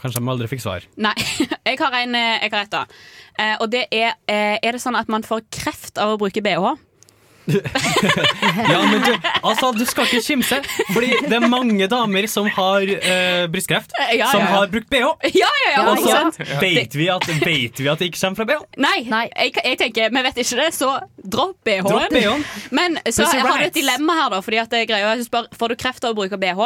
D: Kanskje de aldri fikk svar.
C: Nei, jeg har, en, eh, jeg har et da. Eh, og det er eh, Er det sånn at man får kreft av å bruke bh?
D: Ja, men du, altså, du skal ikke kimse, Fordi det er mange damer som har eh, brystkreft,
C: Ja, ja,
D: som
C: ja.
D: har brukt bh.
C: Ja, ja, ja,
D: og
C: ikke sant?
D: så vet vi, at, vet vi at det ikke kommer fra bh.
C: Nei, Jeg, jeg tenker, vi vet ikke det, så dropp BH-en.
D: Dropp BH-en.
C: Men så
D: Pussy
C: har du
D: riots.
C: et dilemma her, da. Fordi at jeg greier, jeg spør, får du kreft av å bruke BH?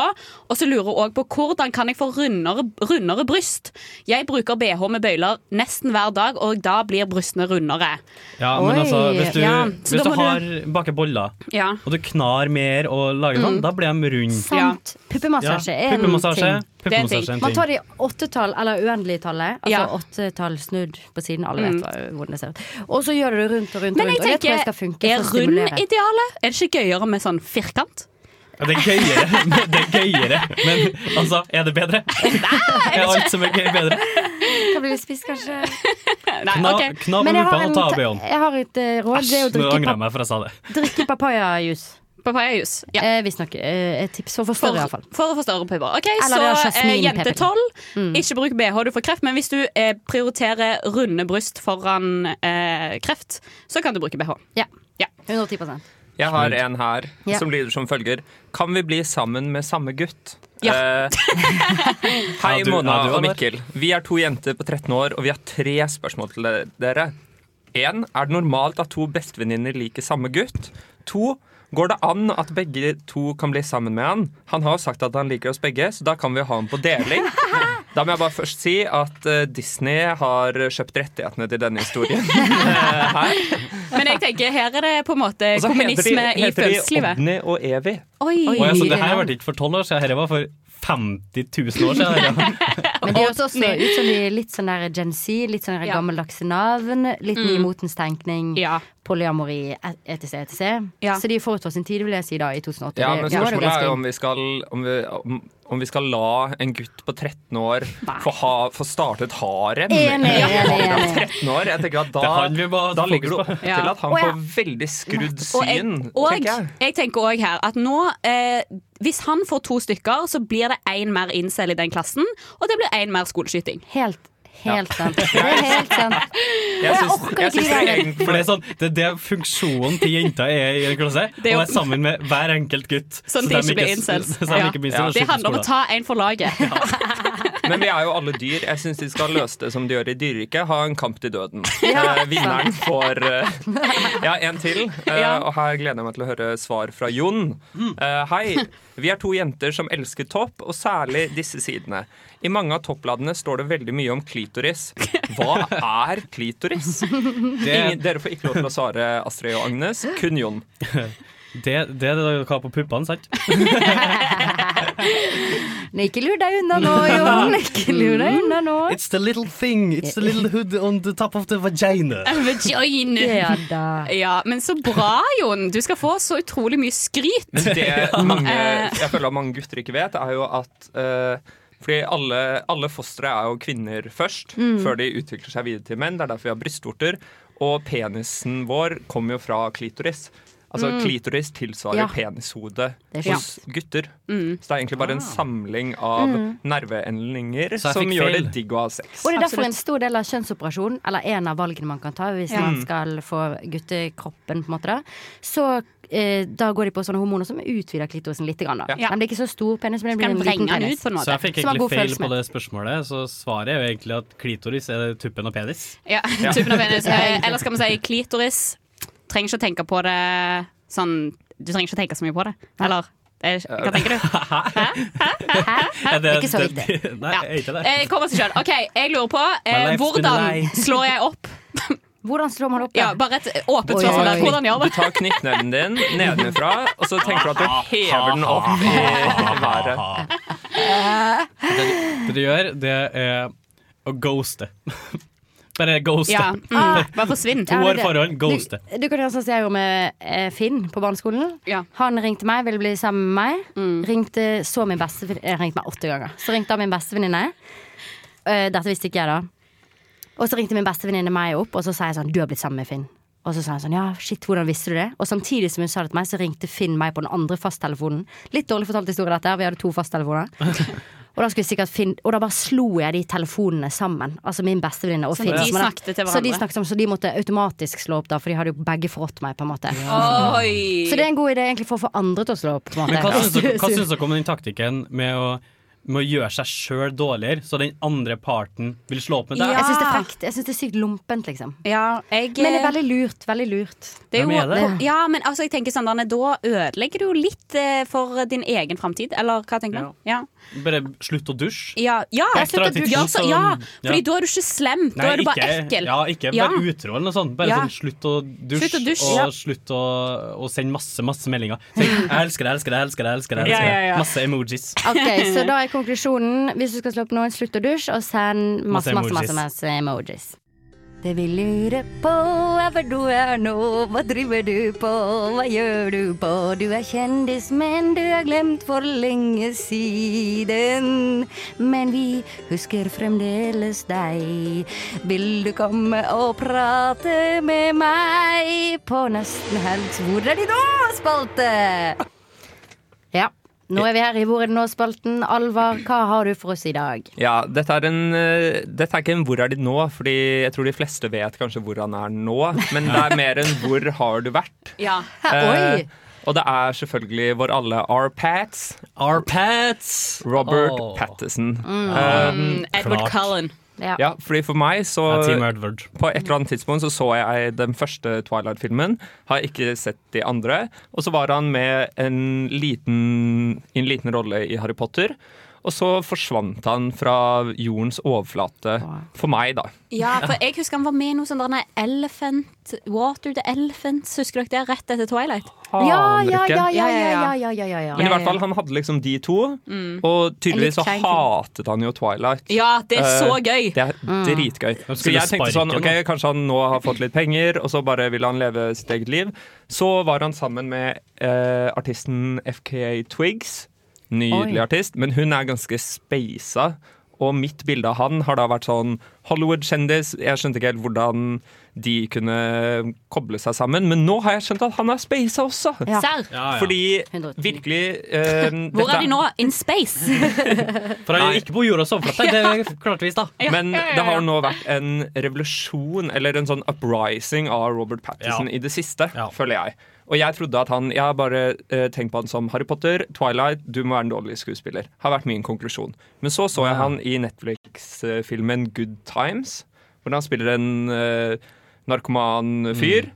C: Og så lurer jeg òg på hvordan kan jeg få rundere, rundere bryst? Jeg bruker BH med bøyler nesten hver dag, og da blir brystene rundere.
D: Ja, men
C: Oi.
D: altså, hvis du,
C: Ja, så
D: hvis
C: da
D: du
C: må du-
D: har baker boller,
C: Ja.
D: og du knar mer og lager
B: Mm.
D: sånn, da blir de runde.
B: Sant. Puppemassasje
D: Ja,
B: er en
D: puppemassasje.
B: ting.
D: Puppemassasje er en ting.
B: Man tar det i åttetall eller uendeligtallet. Altså
C: Ja.
B: åttetall snudd på siden. Alle vet
C: Mm.
B: hva- hvordan det ser ut. Og så gjør du det rundt og rundt. og
C: Men
B: rundt,
C: jeg
B: og det tror jeg skal
C: tenker,
B: funke
C: er
B: for å
C: rund
B: stimulere.
C: idealet? Er det ikke gøyere med sånn firkant?
D: Ja, det er gøyere, men det er gøyere. Men altså, er det bedre? er alt som er gøy, bedre?
B: Kan bli litt spiss, kanskje.
D: Kna, kna på
B: Men jeg har
D: rumpa og
B: en
D: ta av
B: ta-
D: bh-en.
B: Jeg har et eh, råd. Det er å
D: Nå angrer
B: drikke,
D: jeg meg for jeg sa det.
B: pap drikke papayajus.
C: Papayajus, ja.
B: Eh, Visstnok eh, et tips for å forstå det, iallfall.
C: For å få større pupper. Ok,
B: Eller det er
C: så eh,
B: jasminpepper.
C: jente 12,
B: Mm.
C: ikke bruk BH, du får kreft. Men hvis du eh, prioriterer runde bryst foran eh, kreft, så kan du bruke BH.
B: Ja. 110
F: Jeg har en her
G: Ja.
F: som lyder som følger. Kan vi bli sammen med samme gutt? Eh, hei,
G: Ja, du-
F: Mona
G: ja, du,
F: og
G: Håvard.
F: Mikkel. Vi er to jenter på 13 år, og vi har tre spørsmål til de- dere. 1. Er det normalt at to bestevenninner liker samme gutt? 2. Går det an at begge to kan bli sammen med han? Han har jo sagt at han liker oss begge, så da kan vi jo ha ham på deling. Da må jeg bare først si at eh, Disney har kjøpt rettighetene til denne historien. eh, her.
C: Men jeg tenker, her er det på en måte
F: Og så heter de,
C: kommunisme i
F: heter de
C: følelseslivet.
F: Odny og Evy.
C: Oi.
D: Oi, altså, det her var ikke for 12 år siden, dette var for 50 000 år siden. dette.
B: Men de høres også ut som de er litt sånn der Gen Z, litt sånn der
C: Ja. Mm.
B: gammeldagse navn. Litt ny motens tenkning. Polyamori, et- etc., etc.
C: Ja.
B: Så de er forut for sin tid, vil jeg si, da, i 2008.
F: Ja,
B: Det-
F: men
B: det var jo
F: spørsmålet er
B: ganske-
F: jo om vi skal, om vi, om, om vi skal la en gutt på 13 år få, ha, få starte et harem.
G: Enig,
F: Ja,
G: enig,
F: han er
G: enig.
F: 13 år, jeg tenker at
D: Det
F: da,
D: har vi bare
F: da
D: fokus
F: ligger du
D: på.
F: opp
C: Ja.
F: til at han
C: Å, ja.
F: får veldig skrudd
C: Og jeg,
F: syn.
C: og
F: tenker jeg.
C: jeg tenker òg her at nå eh, Hvis han får to stykker, så blir det én mer incel i den klassen, og det blir én mer skoleskyting.
B: Helt, helt sant.
C: Det er helt
B: sant.
D: Jeg syns-
C: orker ikke de der.
D: For det er sånn, det er det funksjonen til jenta er i en klasse.
C: Det er jo-
D: å være sammen med hver enkelt gutt.
C: Sånn at de ikke blir incels.
D: Så de
C: Ja.
D: ikke blir incels og
C: Det
D: slutter
C: handler om å
D: skolen.
C: ta én for laget.
F: Men vi er jo alle dyr. Jeg syns de skal løse det som de gjør i dyreriket. Ha en kamp til døden.
G: Ja.
F: Eh, vinneren får eh, Ja, en til. Eh, Og her gleder jeg meg til å høre svar fra Jon. Eh, hei. Vi er to jenter som elsker topp, og særlig disse sidene. I mange av toppladene står det veldig mye om klitoris. Hva er klitoris? Ingen, dere får ikke lov til å svare, Astrid og Agnes. Kun Jon.
D: Det, det er det dere har på puppene, sant?
B: Nei, Ikke lur deg unna nå, Jon. Ikke lur deg unna nå.
D: It's the little thing. It's the little hood on the top of the vagina.
C: Vagina.
B: Ja da.
C: Ja, men så bra, Jon. Du skal få så utrolig mye skryt.
F: Men det mange,
C: Eh,
F: jeg føler at mange gutter ikke vet, er jo at eh, fordi alle, alle fostre er jo kvinner først,
G: Mm.
F: før de utvikler seg videre til menn. Det er derfor vi har brystvorter. Og penisen vår kommer jo fra klitoris. Altså
G: Mm.
F: Klitoris tilsvarer
G: Ja.
F: penishodet
G: Det er
F: hos gutter.
G: Mm.
F: Så det er egentlig bare en samling av
B: Mm.
F: nerveendinger
D: Ah. Så jeg
F: som
D: fikk
F: gjør det
D: feil.
F: digg å ha sex.
B: Og det er derfor en stor del av kjønnsoperasjonen, eller en av valgene man kan ta hvis
F: Ja.
C: Mm.
B: man skal få guttekroppen, på en måte, da, så eh, da går de på sånne hormoner som utvider klitorisen litt. Grann, da.
D: Ja.
B: Den blir ikke så stor penis, men den blir
C: Kan
B: en liten
C: vrenge den
B: penis.
C: ut på en måte.
D: Så jeg fikk
B: Som har
D: egentlig
B: god
D: feil
B: følelse med.
D: på det spørsmålet, så svaret er jo egentlig at klitoris er tuppen av penis.
C: Ja,
D: Ja.
C: tuppen av penis. Eh,
D: egentlig.
C: Eller skal vi si klitoris. Trenger ikke å tenke på det sånn Du trenger ikke å tenke så mye på det. Eller eh, hva tenker du?
D: Er det-
C: Ikke så
D: det- Nei,
C: Ja.
D: er ikke det.
C: Eh, Kom oss til sjøl. OK, jeg lurer på
D: My
C: eh,
D: life's been a lie.
C: Hvordan slår jeg opp?
B: Hvordan slår man opp?
C: Ja, bare et åpent
F: Du
C: spørsmål.
F: tar,
C: der. Hvordan gjør
F: du
C: det?
F: tar knyttneven din nedenfra, og så tenker du at du hever den opp i været.
D: Det du gjør, det er å ghoste. Bare ghoste.
B: Ja, mm. Bare
C: Ah, forsvinn.
D: To
B: Ja, det
D: år
B: er det.
D: forhånd, ghoste.
B: Du, du kan gjøre sånn som jeg gjorde med eh, Finn på barneskolen. Han ringte meg, ville bli sammen med meg.
C: Mm.
B: Ringte så min beste Jeg ringte meg åtte ganger. Så ringte han min bestevenninne. Eh, dette visste ikke jeg, da. Og så ringte min bestevenninne meg opp, og så sa jeg sånn Du har blitt sammen med Finn. Og så sa hun sånn ja, shit, hvordan visste du det? Og samtidig som hun sa det til meg, så ringte Finn meg på den andre fasttelefonen. Litt dårlig fortalt historie dette her, vi hadde to fasttelefoner. Og da, skulle sikkert Finn, og da bare slo jeg de telefonene sammen. Altså min bestevenninne og
C: Så
B: Finn.
C: de
B: som hadde-
C: snakket til
B: Så de
C: hverandre.
B: snakket sammen, så de måtte automatisk slå opp, da, for de hadde jo begge forrådt meg, på en måte.
C: Ja. Oi.
B: Så det er en god idé egentlig for å få andre til å slå opp. På en
D: Men
B: måte.
D: hva syns dere- hva syns dere om den taktikken med å, med å gjøre seg sjøl dårligere, så den andre parten vil slå opp med deg?
B: Jeg syns det er frekt. Jeg syns det er sykt lompent, liksom. Men det er veldig lurt. Veldig lurt.
C: Det er jo,
D: Hvem er det?
C: Ja, men altså, jeg tenker sånn, Danne, Da ødelegger du jo litt eh, for din egen framtid, eller hva tenker du? Ja.
D: Bare slutt å dusje.
C: Ja, ja,
D: Jeg slutter å dusje.
C: gjør så, ja,
D: sånn, Ja.
C: fordi da er du ikke slem. Mm, Da er du bare ekkel.
D: Ja, ikke
C: Ja.
D: bare utro eller noe sånt. Bare
C: Ja.
D: sånn slutt å dusje,
C: Slutt å dusje,
D: og
C: ja.
D: slutt å, å sende masse, masse meldinger. Tenk, jeg elsker deg, elsker deg, elsker deg. elsker deg,
C: Ja,
D: elsker
C: ja,
D: deg.
C: ja.
D: Masse emojis.
B: Ok, Så da er konklusjonen hvis du skal slå opp noen, slutt å dusje, og send masse, masse, masse, masse emojis. Det vi lurer på er hvor du er nå, hva driver du på, hva gjør du på? Du er kjendis, men du er glemt for lenge siden. Men vi husker fremdeles deg. Vil du komme og prate med meg på nesten helgs Hvor er de nå, spalte? Ja. Nå er vi her i Hvor er det nå-spalten. Alvar, hva har du for oss i dag?
F: Ja, dette er, en, eh, dette er ikke en 'hvor er de nå', Fordi jeg tror de fleste vet kanskje hvor han er nå. Men det er mer enn 'hvor har du vært'?
C: Ja.
F: Eh, og det er selvfølgelig vår alle R-Pats.
D: R-Pats
F: Robert
C: Åh.
F: Patterson.
C: Mm,
F: Eh,
C: Edward Cullen.
F: Ja. fordi for meg så
D: Ja, Team Edward.
F: På et eller annet tidspunkt så så jeg den første Twilight-filmen. Har ikke sett de andre. Og så var han med en liten, i en liten rolle i Harry Potter. Og så forsvant han fra jordens overflate. For meg, da.
C: Ja, for jeg husker han var med i noe sånn der nei, Elephant Water the Elephants. Husker dere det? Rett etter Twilight.
F: Ja, ja, ja, ja,
B: ja, ja, ja, ja, ja.
F: Men i hvert fall, han hadde liksom de to.
C: Mm.
F: Og tydeligvis
C: En
F: så
C: litt klein film.
F: hatet han jo Twilight.
C: Ja, det er så
F: Eh,
C: gøy.
F: Det er
C: Mm.
F: dritgøy.
D: Hvem
F: Så
D: skulle
F: jeg tenkte sånn,
D: sparke
F: ok,
D: nå?
F: Kanskje han nå har fått litt penger, og så bare vil han leve sitt eget liv. Så var han sammen med eh, artisten FKA Twigs. Nydelig
K: Oi.
F: artist, men hun er ganske speisa. Og mitt bilde av han har da vært sånn Hollywood-kjendis. Jeg skjønte ikke helt hvordan de kunne koble seg sammen, men nå har jeg skjønt at han er speisa også.
C: Ja. Serr? Ja, ja.
F: Fordi virkelig eh,
C: Hvor
F: dette-
C: er de nå? In space!
D: For han er jo ikke på jordas overflate, det klarte vi i stad.
C: Ja.
F: Men
C: Ja, ja, ja,
F: det har
C: ja.
F: nå vært en revolusjon, eller en sånn uprising av Robert Patterson i det siste, føler jeg. Og jeg trodde at han Jeg har bare eh, tenkt på han som Harry Potter, Twilight, du må være en dårlig skuespiller. Har vært min konklusjon. Men så så jeg han i Netflix-filmen Good Times, hvor han spiller en eh, narkoman fyr.
D: Mm.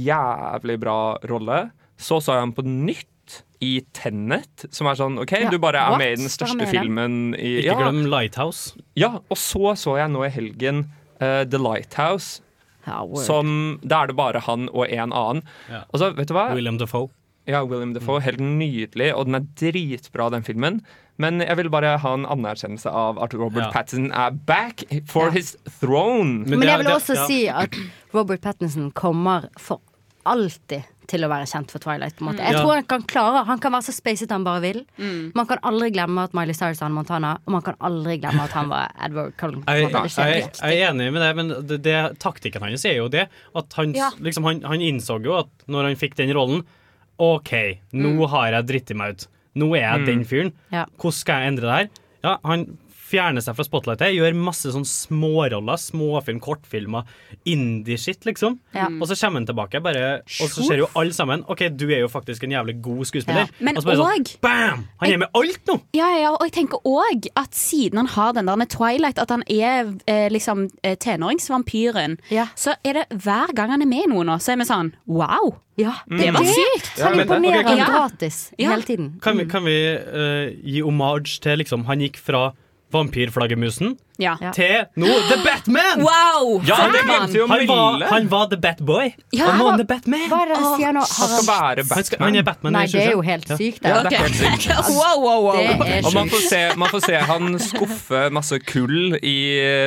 F: Jævlig bra rolle. Så så jeg han på nytt. I Tennet, som er sånn OK,
D: Ja,
F: du bare er
D: what?
F: med i den
D: Bare
F: største
D: med i den.
F: filmen i
D: Ikke glem Lighthouse.
F: ja, og så så jeg nå i helgen eh, The Lighthouse.
D: word.
F: som Da er det bare han og en annen.
D: Ja.
F: Og så, vet du hva?
D: William Mm. Defoe.
F: Ja, William Defoe. Helt nydelig, og den er dritbra, den filmen. Men jeg vil bare ha en anerkjennelse av at Robert Pattinson er back for his throne.
B: Men, jeg vil også si at Robert Pattinson kommer for alltid til å være kjent for Twilight. På en måte.
F: Mm.
B: Jeg
F: Ja.
B: tror Han kan klare Han kan være så spacet han bare vil.
D: Mm.
B: Man kan aldri glemme at Miley Cyrus var Hannah Montana, og man kan aldri glemme at han var Edward Cullen. på en
D: Jeg,
B: måte.
D: jeg,
B: Det skjer
D: jeg
B: ikke.
D: er enig med det, men det, det, taktikken hans er jo det. At han, s-
B: Ja.
D: liksom, han, han innså jo at når han fikk den rollen OK, nå
C: Mm.
D: har jeg dritti meg ut. Nå er jeg
F: Mm.
D: den fyren.
B: Ja.
D: Hvordan skal jeg endre det her? Ja, han fjerner seg fra spotlightet, gjør masse sånn småroller, småfilm, kortfilmer, indie-shit, liksom.
C: Ja.
D: Og så kommer han tilbake, bare, og så ser jo alle sammen OK, du er jo faktisk en jævlig god skuespiller.
C: Ja. Men
D: og så bare
C: og-
D: sånn, bam! Han er med alt nå!
C: Ja, ja, ja, og jeg tenker òg at siden han har den der med Twilight, at han er eh, liksom eh, tenåringsvampyren, så er det hver gang han er med i noe nå, så er vi sånn wow!
F: Mm.
D: Mm.
C: Det var sykt!
B: Han imponerer
C: Ja.
B: gratis
C: Ja.
B: hele tiden. Mm.
D: Kan vi, kan vi eh, gi homage til liksom Han gikk fra vampyrflaggermusen
C: Ja.
D: til nå The Batman!
C: Wow!
D: Ja, det
C: Batman!
D: glemte jo han, var,
F: Mille.
D: han var The Batboy.
C: Ja,
D: og nå er
C: han
D: han The Batman.
B: Hva er det han sier nå?
F: Han skal være
D: Han skal- han er Batman,
F: Batman.
B: Nei, det er jo helt sykt, det.
F: Ja, det er helt sykt.
C: wow, wow, wow.
B: Altså, Det er
F: Og man får,
B: sjukt.
F: se, man får se han skuffe masse kull i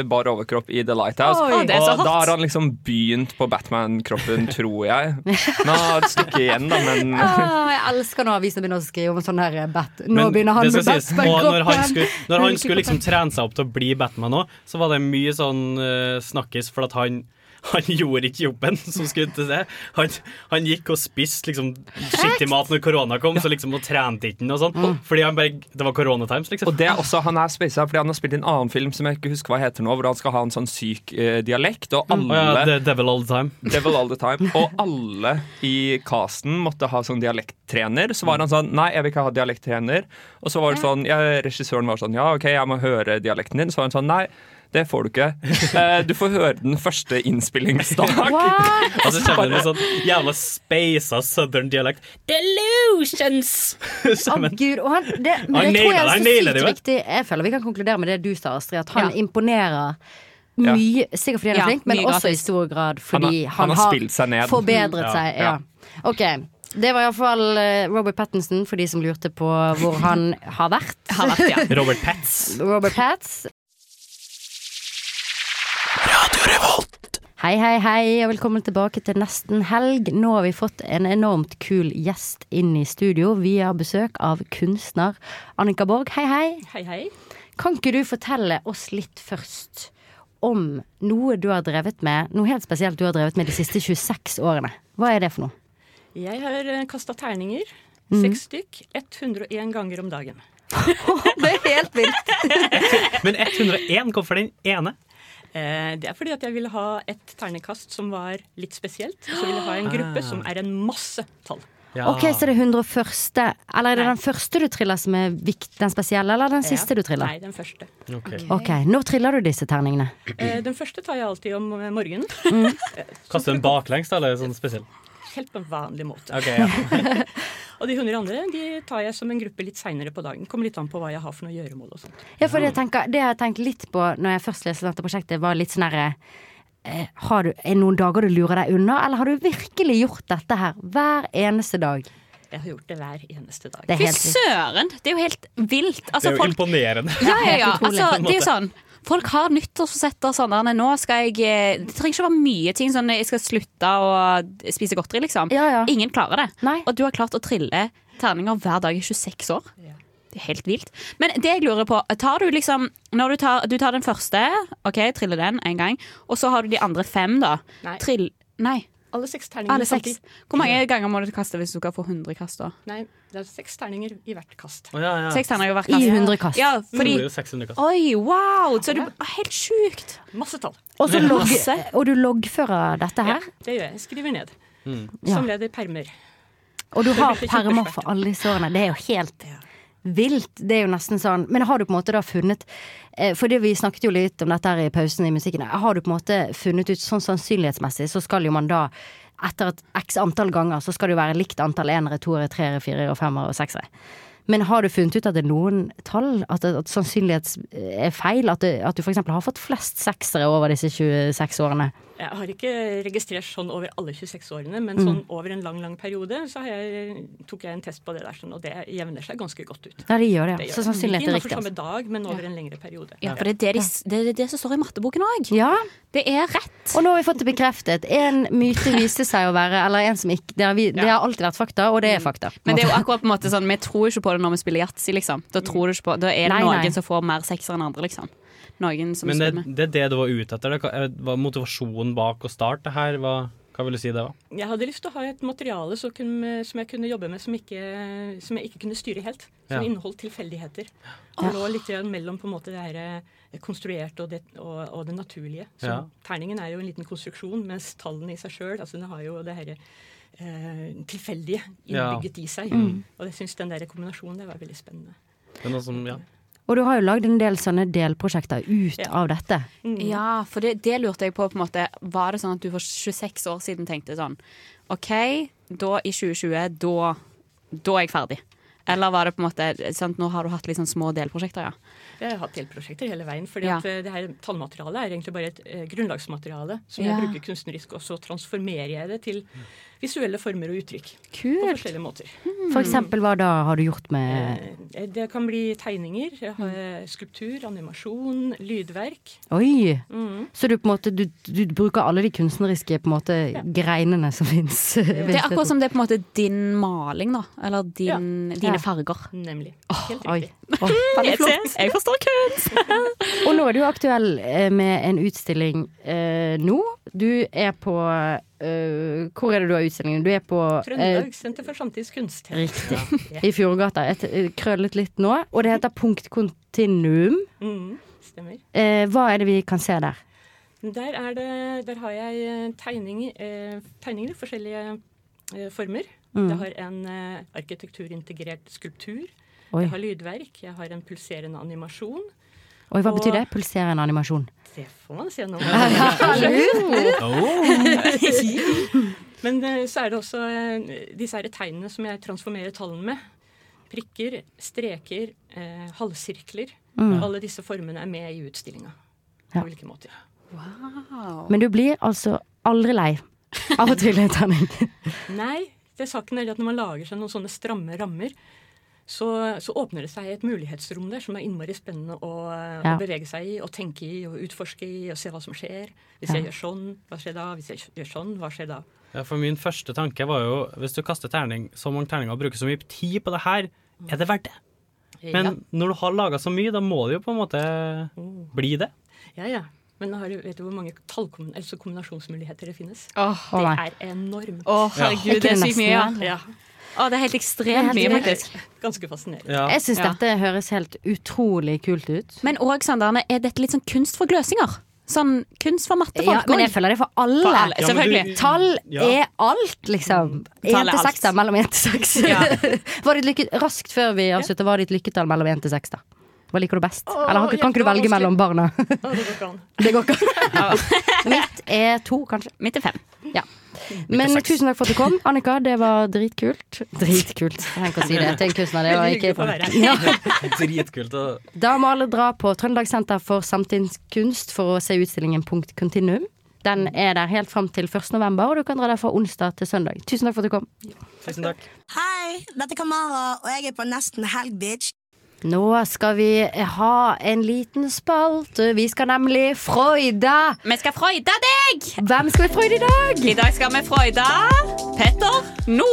F: bar overkropp i The Lighthouse.
C: Oi. Å, det er så
F: og
C: hot.
F: da har han liksom begynt på Batman-kroppen, tror jeg. Men han har et stykke igjen, da,
D: Mm.
F: men
B: Ah, jeg elsker når avisene begynner å skrive om sånn her bat. Nå
D: Men
B: begynner han
D: det
B: med
D: skal sies, og
B: Batman-kroppen.
D: Når han skulle, når han skulle liksom
B: Hulkekroppen.
D: trene seg opp til å bli Batman òg, så var det mye sånn eh, snakkis for at han han gjorde ikke jobben som skulle til det. Han, han gikk og spiste liksom skittig mat når korona kom, så liksom og trente ikke den og sånn.
B: Mm.
D: Fordi han bare Det var koronatimes, liksom.
F: Og det er også, Han er spesa fordi han har spilt i en annen film som jeg ikke husker hva heter nå, hvor han skal ha en sånn syk eh, dialekt. Og alle,
D: Å ja, The Devil All The Time.
F: Devil All The Time. Og alle i casten måtte ha sånn dialekttrener. Så var han sånn Nei, jeg vil ikke ha dialekttrener. Og så var det sånn ja, Regissøren var sånn Ja, OK, jeg må høre dialekten din. Så var han sånn Nei. Det får du ikke. Eh, Du får høre den første innspillingsdag.
D: Og så kommer det med sånn jævla speisa southern dialekt. Delusions!
B: Å gud, og han, det, men det tror
D: Han nailer det,
B: jeg
D: han
B: er så
D: nailer det
B: sykt
D: jo.
B: riktig. Jeg føler vi kan konkludere med det du sa, Astrid, at han
C: Ja.
B: imponerer
F: Ja.
B: mye, sikkert fordi han
C: Ja,
B: er flink, men
C: mye
B: også i
C: gratis.
B: stor grad
F: Han har-
B: fordi han,
F: han har spilt seg ned.
B: forbedret
F: Ja.
B: seg.
F: Ja.
B: Ja. Ok, det var iallfall eh, Robert Pattinson, for de som lurte på hvor han har vært.
C: Har vært, ja.
D: Robert Pats.
B: Robert Pats. Hei, hei, hei, og velkommen tilbake til nesten helg. Nå har vi fått en enormt kul gjest inn i studio. Vi har besøk av kunstner Annika Borg. Hei, hei.
C: Hei, hei.
B: Kan ikke du fortelle oss litt først om noe du har drevet med, noe helt spesielt du har drevet med de siste 26 årene? Hva er det for noe?
L: Jeg har kasta terninger.
K: Mm. eh, Seks stykk 101 ganger om dagen.
I: det er helt vilt.
D: Men 101, hvorfor den ene?
K: Eh, Det er fordi at jeg ville ha et ternekast som var litt spesielt. Så ville jeg ha en gruppe som er en masse tall.
B: OK,
K: Ah.
B: så det er 101. Eller er det den første du triller som er vikt, den spesielle, eller den siste du triller?
K: Nei, den første.
B: OK. Når triller du disse terningene?
K: Eh, Den første tar jeg alltid om morgenen.
A: Mm.
K: Eh,
D: Kaste den baklengs, da, eller sånn spesiell?
K: Helt på en vanlig måte.
D: Ok, ja.
K: og de 100 andre de tar jeg som en gruppe litt seinere på dagen. Kommer litt an på hva jeg har for noe gjøremål og sånt.
B: Ja, fordi jeg tenker, Det jeg har tenkt litt på når jeg først leste dette prosjektet, var litt sånn herre eh, har du, Er det noen dager du lurer deg unna, eller har du virkelig gjort dette her hver eneste dag?
K: Jeg har gjort det hver eneste dag.
B: Det er
C: Fy
B: helt vilt.
C: søren! Det er jo helt vilt. Altså,
D: det er jo
C: folk,
D: imponerende.
C: ja, ja, ja.
D: Helt utrolig,
C: Altså,
D: på en
C: det er jo
D: måte.
C: sånn Folk har nyttårsforsetter sånn «Nei, Nå skal jeg eh, Det trenger ikke å være mye ting sånn jeg skal slutte å spise godteri, liksom. Ingen klarer det. Og du har klart å trille terninger hver dag i 26 år. Det er helt vilt. Men det jeg lurer på, tar du liksom Når du tar, du tar den første, OK, triller den en gang, og så har du de andre fem, da.
K: Nei.
C: Trill Nei.
K: Alle seks terningene
C: Alle seks.
K: samtidig.
C: Hvor mange ganger må du kaste hvis du skal få 100 kast, da?
K: Nei, det er seks terninger i hvert kast.
D: Å, ja, ja.
C: Seks terninger i hvert kast. I 100 kast. Ja, fordi-
D: Det blir jo 600 kast.
C: Oi, wow! Så er du helt sjukt.
K: Masse tall.
B: Og, så
D: Ja.
B: logg,
D: Masse.
B: og du loggfører dette her?
K: Det gjør jeg. Jeg Skriver ned.
D: Mm.
B: Ja.
K: Som leder permer.
B: Og du
K: Det
B: har
K: blir ikke
B: permer for alle disse årene. Det er jo helt vilt. Det er jo nesten sånn Men har du på en måte da funnet eh, Fordi vi snakket jo litt om dette her i pausen i musikken. Har du på en måte funnet ut sånn sannsynlighetsmessig, så skal jo man da etter et x antall ganger, så skal det jo være likt antall enere, toere, treere, firere, og femmere og seksere. Men har du funnet ut at det er noen tall, at, at sannsynlighets eh, er feil? At, det, at du f.eks. har fått flest seksere over disse 26 årene?
K: Jeg har ikke registrert sånn over alle 26 årene, men
B: Mm.
K: sånn over en lang lang periode så har jeg, tok jeg en test på det der, sånn, og det jevner seg ganske godt ut.
B: Ja, det gjør det, ja. Så
K: gjør
B: sannsynligheten
K: Ikke
B: er riktig,
K: Innenfor samme dag, men over en lengre periode.
C: altså. Ja, for det er det, de, det, er det som står i matteboken òg. Det er rett.
B: Og nå har vi fått det bekreftet. En myte viste seg å være Eller en som ikke Det har, vi, det har alltid vært fakta, og det er fakta.
C: Mm. Men det er jo akkurat på en måte sånn, vi tror ikke på det når vi spiller yatzy, liksom. Da, tror du ikke på, da er det
B: Nei,
C: noen
B: nei.
C: som får mer seksere enn andre, liksom. Noen som
D: Men det,
C: spiller med.
D: det er det du var ute etter? Det Hva- var motivasjonen bak å starte her? Hva, hva vil du si det var?
K: Jeg hadde lyst til å ha et materiale som, kunne, som jeg kunne jobbe med som, ikke, som jeg ikke kunne styre helt. Som
D: Ja.
K: inneholdt tilfeldigheter. Det lå litt grann mellom på en måte det her eh, konstruerte og det, og, og det naturlige. Så
D: Ja.
K: Terningen er jo en liten konstruksjon, mens tallene i seg sjøl altså, den har jo det her eh, tilfeldige
D: Ja.
K: innbygget i seg.
B: Mm.
K: Og jeg syns den der kombinasjonen det var veldig spennende.
D: Det er noe som, ja.
B: Og du har jo lagd en del sånne delprosjekter ut
C: Ja.
B: av dette.
C: Ja, for det, det lurte jeg på, på en måte. Var det sånn at du for 26 år siden tenkte sånn OK, da i 2020, da, da er jeg ferdig. Eller var det på en måte sant, Nå har du hatt litt sånn små delprosjekter, ja.
K: Jeg har hatt delprosjekter hele veien. fordi
C: Ja.
K: at eh, det her tallmaterialet er egentlig bare et eh, grunnlagsmateriale som
C: Ja.
K: jeg bruker kunstnerisk, og så transformerer jeg det til visuelle former og uttrykk. På forskjellige måter. Mm.
B: For
C: Mm.
B: eksempel, hva da har du gjort med
K: Eh, Det kan bli tegninger, jeg har, eh, skulptur, animasjon, lydverk.
B: Oi!
K: Mm.
B: Så du på en måte du, du bruker alle de kunstneriske på en måte, greinene som fins.
C: Det er akkurat som det er på en måte din maling, da. Eller din, dine
B: Ja.
C: farger.
K: Nemlig. Helt
B: Oi. Åh.
C: Veldig flott. Jeg forstår kunst!
B: Og nå er du jo aktuell eh, med en utstilling eh, nå. Du er på eh, Hvor er det du har utstillingen? Du er på eh,
K: Trøndelag Senter for samtids kunst.
B: Riktig.
K: Ja.
B: I Fjordgata. Et, et- krøllet litt nå. Og det heter Punkt Continuum.
K: Mm, stemmer.
B: Eh, hva er det vi kan se der?
K: Der, er det, der har jeg eh, tegninger, eh, tegninger i forskjellige eh, former.
B: Mm.
K: Jeg har en eh, arkitekturintegrert skulptur.
B: Oi.
K: Jeg har lydverk. Jeg har en pulserende animasjon.
B: Oi, hva
K: Og-
B: betyr det? Pulserende animasjon.
K: Det får man se nå.
B: Oh.
K: Men eh, så er det også eh, disse her tegnene som jeg transformerer tallene med. Prikker, streker, eh, halvsirkler.
B: Mm.
K: Alle disse formene er med i utstillinga.
B: Ja.
K: På ulike måter.
B: Men du blir altså aldri lei av å trille en terning.
K: Nei, det saken er det at når man lager seg noen sånne stramme rammer, så, så åpner det seg et mulighetsrom der som er innmari spennende å, å
B: Ja.
K: bevege seg i, og tenke i, og utforske i, og se hva som skjer. Hvis
B: Ja.
K: jeg gjør sånn, hva skjer da? Hvis jeg gjør sånn, hva skjer da?
D: ja, for min første tanke var jo hvis du kaster terning, så mange terninger og bruker så mye tid på det her, er det verdt det? Men
K: Ja.
D: når du har laga så mye, da må det jo på en måte
B: Oh.
D: bli det.
K: Ja, ja. Men nå har du, vet du hvor mange tallkommun- eller så kombinasjonsmuligheter det finnes?
C: Åh,
D: Å,
K: det
D: nei.
K: er enormt.
C: Å, herregud, Ja. det er sykt mye, ja.
K: ja.
C: Å, det er helt
K: Det
C: ekstremt mye,
K: er helt
C: faktisk.
K: Ganske fascinerende.
B: Jeg syns dette høres helt utrolig kult ut.
C: Men òg, Sandane, er dette litt sånn kunst for gløsinger? Sånn kunst for mattefolk?
B: Ja, men jeg
C: også?
B: føler det for alle.
C: For alle, Ja, men selvfølgelig. du-
B: Tall
C: ja.
B: er alt, liksom.
C: Tall er
B: Én til
C: alt.
B: seks, da. Mellom én til seks.
C: Ja.
B: Var ditt lykke- Raskt før vi avslutter, hva er ditt lykketall mellom én til seks, da? Hva liker du best?
K: Åh,
B: Eller har- kan ikke du
K: hjertelig
B: velge
K: vanskelig.
B: mellom barna?
K: Ja, det går ikke an.
B: Det går ikke. Mitt er to, kanskje.
C: Mitt er fem.
B: Ja. Men
C: seks.
B: tusen takk for at du kom, Annika. Det var dritkult. Dritkult, jeg trenger ikke å si det til en kunstner. Det var
D: Veldig
B: ikke
D: hyggelig å få
B: Ja.
D: Dritkult. å-
B: Da må alle dra på Trøndelagssenter for samtidskunst for å se utstillingen Punkt Continuum. Den er der helt fram til 1. november, og du kan dra der fra onsdag til søndag. Tusen takk for at du kom.
D: Tusen takk.
L: Hei, dette er Kamara, og jeg er på Nesten Helg, bitch.
B: Nå skal vi ha en liten spalte. Vi skal nemlig freude!
C: Vi skal freude deg!
B: Hvem skal vi freude i dag?
C: I dag skal vi freude Petter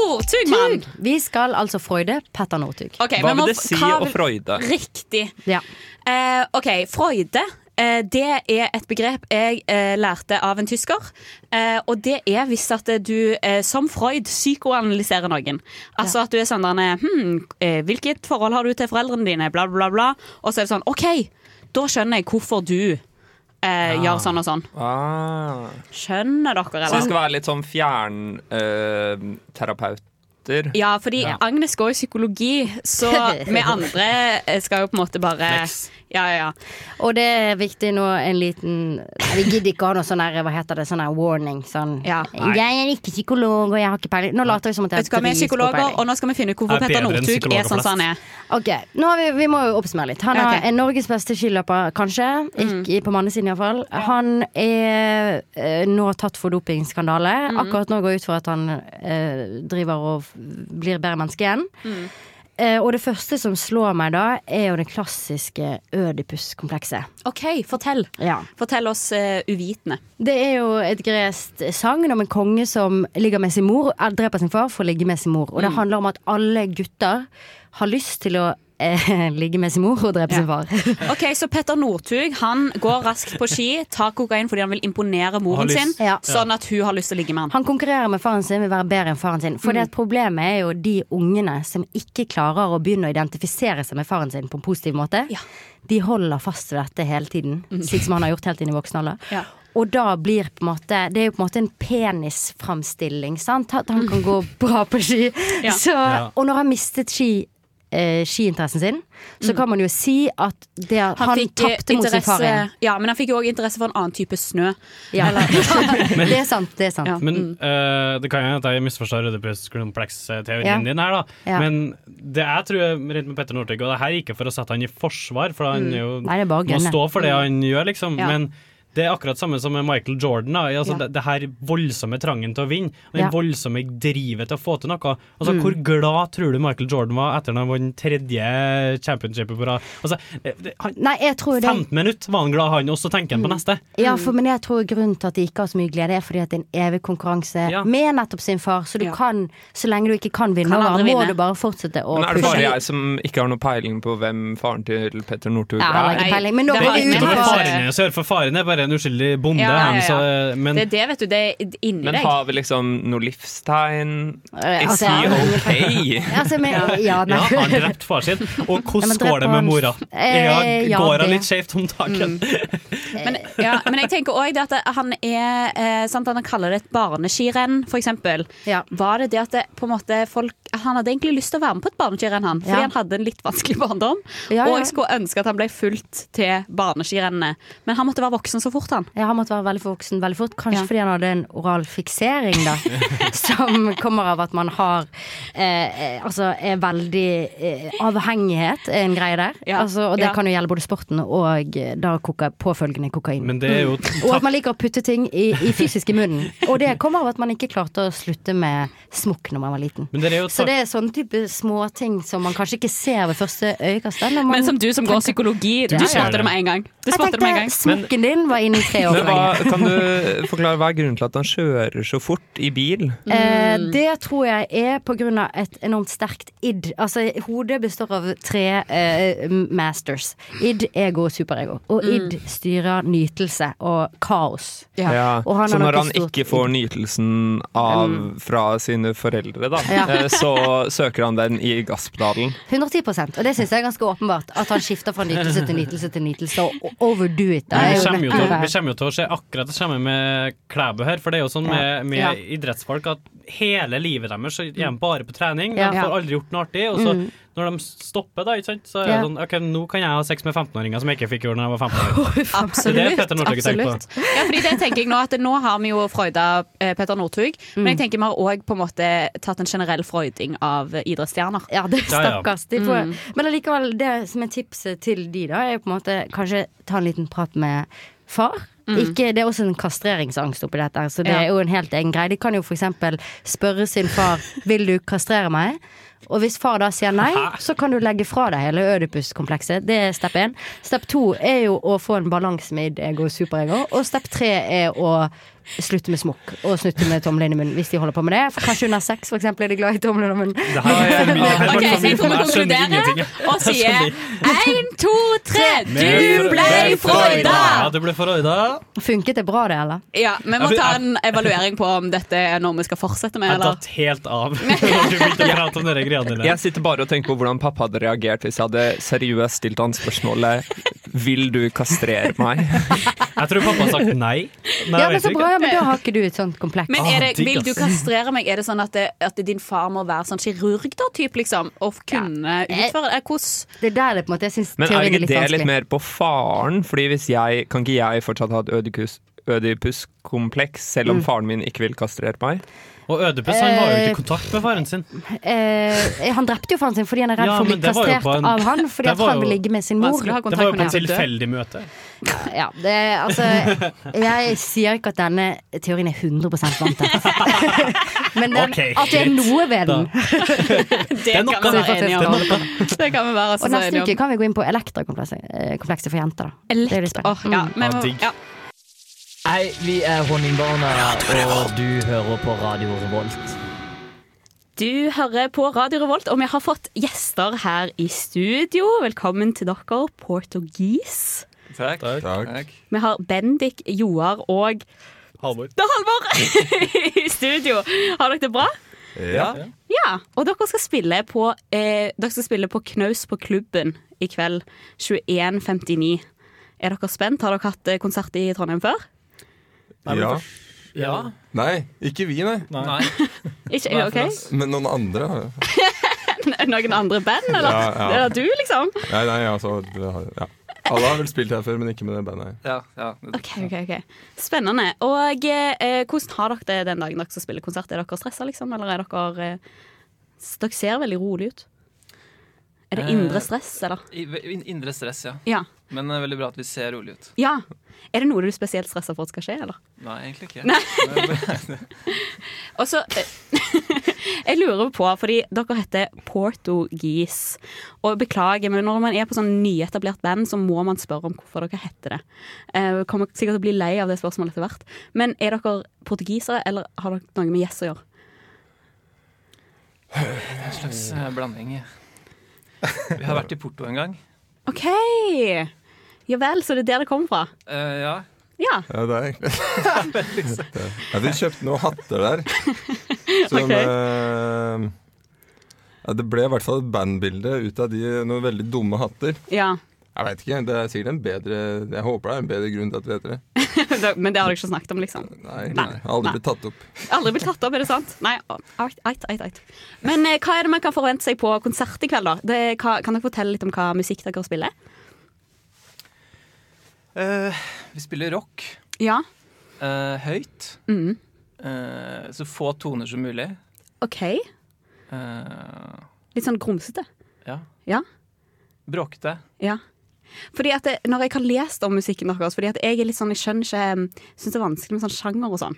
C: Northugmann.
B: Vi skal altså freude Petter Northug.
C: Ok,
F: Hva
C: men må-
F: vil det si
C: hva
F: å
C: vil-
F: freude?
C: Riktig.
B: Ja.
C: Eh, ok, Freude. eh, Det er et begrep jeg eh, lærte av en tysker. Eh, og det er hvis at du eh, som Freud psykoanalyserer noen. Altså at du er sånn der hm, eh, Hvilket forhold har du til foreldrene dine? Bla, bla, bla. Og så er det sånn OK, da skjønner jeg hvorfor du eh, gjør sånn og sånn.
F: Ah.
C: Skjønner dere,
F: Så det skal
C: eller?
F: være litt sånn eh, fjernterapeuter?
C: Ja, fordi Agnes går i psykologi, så vi andre eh, skal jo på en måte bare
B: Flex.
C: Ja, ja, ja.
B: Og det er viktig nå en liten Nei, Vi gidder ikke ha noe sånn her, hva heter det, sånn her warning. Sånn
C: Nei.
B: Jeg er ikke psykolog, og jeg har ikke peiling. Nå later vi som at jeg
C: Vet du hva, Vi er
B: dritgod
C: psykologer,
B: peiling.
C: og nå skal vi finne ut hvorfor
B: Er
C: Petter
B: bedre enn
C: Northug er
B: psykologer
C: sånn
B: flest.
C: som han er.
B: Ok, nå har vi, vi må jo oppsummere litt. Han er
C: Ok. Mm.
B: eh, Norges beste skiløper, kanskje. Ikke på mannesiden iallfall. Han er eh, nå tatt for dopingskandale.
M: Mhm.
C: Mm.
B: Akkurat nå går jeg ut for at han eh, driver og f- blir bedre menneske igjen.
C: Mm.
B: Eh, og det første som slår meg da, er jo det klassiske Ødipus-komplekset.
C: OK, fortell.
B: Ja.
C: Fortell oss eh, uvitende.
B: Det er jo et gresk sagn om en konge som ligger med sin mor, eh, dreper sin far for å ligge med sin mor. Og det
C: Mm.
B: handler om at alle gutter har lyst til å eh, ligge med sin mor og drepe sin far.
C: Ok, Så Petter Northug han går raskt på ski, tar kokain fordi han vil imponere moren
B: Har
C: sin,
B: lyst. Ja.
C: sånn at hun har lyst til å ligge med han.
B: Han konkurrerer med faren sin, vil være bedre enn faren sin.
C: Mm.
B: For det at problemet er jo de ungene som ikke klarer å begynne å identifisere seg med faren sin på en positiv måte. De holder fast ved dette hele tiden, slik som han har gjort helt inn i voksen alder.
C: Mm. Ja.
B: Og da blir på en måte Det er jo på en måte en penisframstilling, sant? At han kan gå
C: Mm.
B: bra på ski.
M: Ja.
B: Så,
M: Ja.
B: og når han mistet ski eh, skiinteressen sin, så kan man jo si at det, at han,
C: Mm. fikk, eh,
B: tapte mot sin far igjen.
C: interesse- Ja, men han fikk jo òg interesse for en annen type snø.
B: Ja.
D: Men-
B: det er sant, det er sant.
D: Men
B: Mm.
D: eh, det kan jo hende at jeg misforstår Rødepus-kompleks-teorien
B: Ja.
D: din her, da.
B: Ja.
D: Men det jeg tror er rent med Petter Northug, og det her er ikke for å sette han i forsvar, for han
B: Mm.
D: er jo,
B: Nei, det er bare å
D: må
B: gønne.
D: stå for det han gjør, liksom.
B: Ja.
D: Men det er akkurat samme som med Michael Jordan. Da. Altså,
B: Ja.
D: det, det her voldsomme trangen til å vinne, den
B: Ja.
D: voldsomme drivet til å få til noe. Altså,
B: Mm.
D: Hvor glad tror du Michael Jordan var etter når han vant tredje championshipet på rad? Altså, eh, det- han,
B: Nei, jeg tror det Mm.
D: 15 minutter var han glad, han, og så tenker han på neste.
B: Ja, for, men jeg tror grunnen til at de ikke har så mye glede, er fordi at det er en evig konkurranse med nettopp sin far. Så du kan, så lenge du ikke kan vinne
C: Kan
B: over,
C: aldri
B: han, må
C: vinne.
B: du bare fortsette å
F: Men er det
B: pushe.
F: bare jeg som ikke har noe peiling på hvem faren til Petter Northug
B: Ja, han har
F: er?
B: ikke peiling, men nå
D: det
B: går
D: er
B: vi
D: ikke
B: ut
D: noe
B: fra-
D: faren hennes å gjøre, for faren er bare en uskyldig bonde.
C: Ja, ja, ja.
D: han, Så, eh, men
C: det er det, vet du. Det er inni
F: Men
C: deg.
F: har vi liksom noe livstegn?
B: Eh,
F: Is
B: altså-
F: he okay?
B: Altså, men, ja, nei.
D: Ja, han drepte far sin. Og
B: Ja, men
D: hvordan
B: drept
D: går det
B: han-
D: med mora?
B: Eh, ja,
D: Ja, går
B: det. Mm.
D: hun litt skjevt om dagen?
C: Men, ja, men jeg tenker òg at han er eh, sant, Han kaller det et barneskirenn, for eksempel. Var det det at det, på en måte folk at Han hadde egentlig lyst til å være med på et barneskirenn, han. Fordi
B: Ja.
C: han hadde en litt vanskelig barndom.
B: Ja, ja.
C: Og jeg skulle ønske at han ble fulgt til barneskirennene. Men han måtte være voksen så fort, han.
B: Ja, han måtte være veldig voksen veldig fort. Kanskje fordi han hadde en oral fiksering, da. som kommer av at man har eh, eh, Altså er veldig eh, Avhengighet er en greie der.
M: Ja.
B: Altså, og det
M: Ja.
B: kan jo gjelde både sporten og eh, da koka, påfølgende kokain.
D: Men det er jo-
B: Mm. Og at man liker å putte ting i, i fysisk i munnen. Og det kommer av at man ikke klarte å slutte med smokk når man var liten.
D: Men det er jo
B: Så det er sånne type småting som man kanskje ikke ser ved første øyekast. eller man
C: Men som du som går
B: tenker-
C: psykologi,
B: Ja,
C: du
B: ja.
C: skjønte det med en gang. Det
B: jeg
C: spotter meg en
B: tenkte
C: gang.
B: smokken din var inne i tre år
F: Men
B: for
F: hva,
B: lenge.
F: kan du forklare hva er grunnen til at han kjører så fort i bil?
B: Eh, det tror jeg er på grunn av et enormt sterkt id. Altså, hodet består av tre eh, masters. Id, ego og superego. Og id styrer nytelse og kaos.
F: Ja.
B: Og han har
F: så
B: nok
F: når
B: et
F: han
B: stort Mm.
F: ikke får nytelsen av, fra sine foreldre, da,
B: Ja.
F: eh, så søker han den i gasspedalen.
B: 110 Og det syns jeg er ganske åpenbart. At han skifter fra nytelse til nytelse til nytelse. Og overdo it. Det er
D: Vi
B: jo
D: kommer, jo til,
B: nettopp
D: vi
B: det.
D: kommer jo til å se akkurat det samme med Klæbo her, for det er jo sånn med, med
B: Ja. Mm.
D: idrettsfolk at hele livet deres så er de bare på trening.
B: Ja.
D: De får aldri gjort noe artig. Og så
B: Mm.
D: når de stopper, da, ikke sant, så er det
B: Ja.
D: sånn OK, nå kan jeg ha sex med 15-åringer som jeg ikke fikk gjort da jeg var 15 år.
C: Absolutt.
D: Det er det Petter Northug tenker på.
C: absolutt. Ja, fordi det tenker jeg Nå at nå har vi jo freuda eh, Petter Northug,
B: Mm.
C: men jeg tenker vi har òg på en måte tatt en generell freuding av idrettsstjerner. Mm.
B: Ja, det
C: Ja, ja.
B: Stakkars. De får, Men allikevel, det som er tipset til de, da, er jo på en måte kanskje ta en liten prat med far.
C: Mm.
B: Ikke, det er også en kastreringsangst oppi dette, her, så det
C: Ja.
B: er jo en helt egen greie. De kan jo f.eks. spørre sin far 'Vil du kastrere meg?' Og hvis far da sier nei, så kan du legge fra deg hele Ødipus-komplekset. Det er step én. Step to er jo å få en balanse med id-ego og superego. Og step tre er å slutte med smokk og slutte med tommelen i munnen hvis de holder på med det. For kanskje under sex, for eksempel, er de glad i tommelen i munnen.
D: Det her var for mye. Det her var
C: Ok, så
D: for mye
C: jeg
D: for meg.
C: kommer
D: Jeg skjønner
C: konkludere
D: ingenting.
C: og sier
D: Jeg skjønner.
C: én, to, tre,
D: Men-
C: du ble freuda!
D: Ja, du ble freuda.
B: Funket det bra, det, eller?
C: Ja, vi må
D: Ja, for-
C: ta en evaluering på om dette er noe vi skal fortsette med,
D: Jeg
C: eller?
D: datt helt av når du begynte å prate om de greiene dine.
F: Jeg sitter bare og tenker på hvordan pappa hadde reagert hvis jeg hadde seriøst stilt han spørsmålet Vil du kastrere meg?
D: Jeg tror pappa har sagt nei.
B: ja, men så bra, ja, men da har ikke du et sånt kompleks.
C: Men er det, vil du kastrere meg? Er det sånn at, det, at din far må være sånn kirurg, da, typ, liksom? Og kunne utføre Eh, det? Hvordan
B: Det er der det på en måte Jeg syns
F: Men er
B: teorien er
F: ikke
B: litt
F: det
B: vanskelig.
F: litt mer på faren? Fordi hvis jeg, Kan ikke jeg fortsatt ha et ødikus- ødipuskompleks selv om
B: Mm.
F: faren min ikke vil kastrere meg?
D: Og Ødipus han var jo ikke
B: Eh,
D: i kontakt med faren sin.
B: Eh, han drepte jo faren sin fordi han er redd
D: Ja,
B: for å bli
D: men det var jo
B: kastrert
D: på en-
B: av han fordi
D: det
B: at
D: var
B: han vil
D: jo-
B: ligge med sin mor.
D: Det var jo på en tilfeldig møte.
B: Ja, det, altså, jeg sier ikke at denne teorien er 100 vant til. Men den,
C: Ok,
B: at det er
C: greit.
B: noe ved den.
C: Det kan vi være enige om. Det kan vi være
B: Og
C: så
B: neste
C: enige
B: uke
C: om.
B: kan vi gå inn på elektrakomplekset eh, komplekset for jenter. Da. Det er litt spennende.
C: ja,
B: Mm.
C: men vi må- ja.
M: Hei, vi er Honningbarna, og du hører på Radio Revolt.
C: Du hører på Radio Revolt, og vi har fått gjester her i studio. Velkommen til dere, portugis.
F: Takk.
C: Vi har Bendik, Joar og
F: Halvor.
C: Det er Halvor i studio. Har dere det bra?
N: Ja.
C: Ja, og dere skal spille på, eh, dere skal spille på Knaus på klubben i kveld 21.59. Er dere spent? Har dere hatt eh, konsert i Trondheim før?
N: Ja.
C: Ja.
N: Nei, ikke vi, nei.
C: Ikke, ok.
N: Men noen andre? har det.
C: Noen andre band, eller?
N: Ja, ja.
C: Eller du, liksom?
N: Nei, nei, altså det har- ja. Alle har vel spilt her før, men ikke med det bandet. her.
C: Ok, ok, ok. Spennende. Og eh, hvordan har dere det den dagen dere skal spille konsert? Er dere stressa, liksom? Eller er dere eh, s- Dere ser veldig rolig ut. Er det
O: Eh,
C: indre stress, eller?
O: I- in- Indre stress, ja.
C: Ja.
O: Men eh, veldig bra at vi ser rolig ut.
C: Ja. Er det noe du er spesielt stressa for at skal skje, eller?
O: Nei, egentlig ikke.
C: Nei.
O: Men-
C: Og så eh, Jeg lurer på, fordi dere heter Portugis. Og beklager, men når man er på sånn nyetablert band, så må man spørre om hvorfor dere heter det. Eh, vi kommer sikkert til å bli lei av det spørsmålet etter hvert. Men er dere portugisere, eller har dere noe med yes å gjøre?
O: En slags eh, blanding. ja. Vi har vært i Porto en gang.
C: OK! Ja vel, så det er der det kommer fra?
O: Eh, ja.
C: Ja.
N: Ja, det er egentlig det. Ja, vi kjøpte noen hatter der. Som
C: Ok.
N: eh, ja, Det ble i hvert fall et bandbilde ut av de noen veldig dumme hatter.
C: ja.
N: Jeg vet ikke, det er sikkert en bedre Jeg håper det er en bedre grunn til at vi heter det.
C: Det- men det har dere ikke snakket om, liksom?
N: Nei, nei, jeg har aldri blitt tatt opp.
C: Aldri blitt tatt opp, er det sant? Nei, eit, eit, eit, eit. Men eh, hva er det man kan forvente seg på konsert i kveld, da? Det, hva, kan dere fortelle litt om hva musikk dere spiller?
O: Eh, vi spiller rock
C: Ja.
O: eh, høyt.
C: Mm.
O: Eh, så få toner som mulig.
C: OK.
O: Eh,
C: Litt sånn grumsete.
O: ja.
C: Ja.
O: Bråkete.
C: Ja. Fordi at det, Når jeg har lest om musikken deres Fordi at jeg er litt sånn, jeg skjønner ikke Syns det er vanskelig med sånn sjanger og sånn.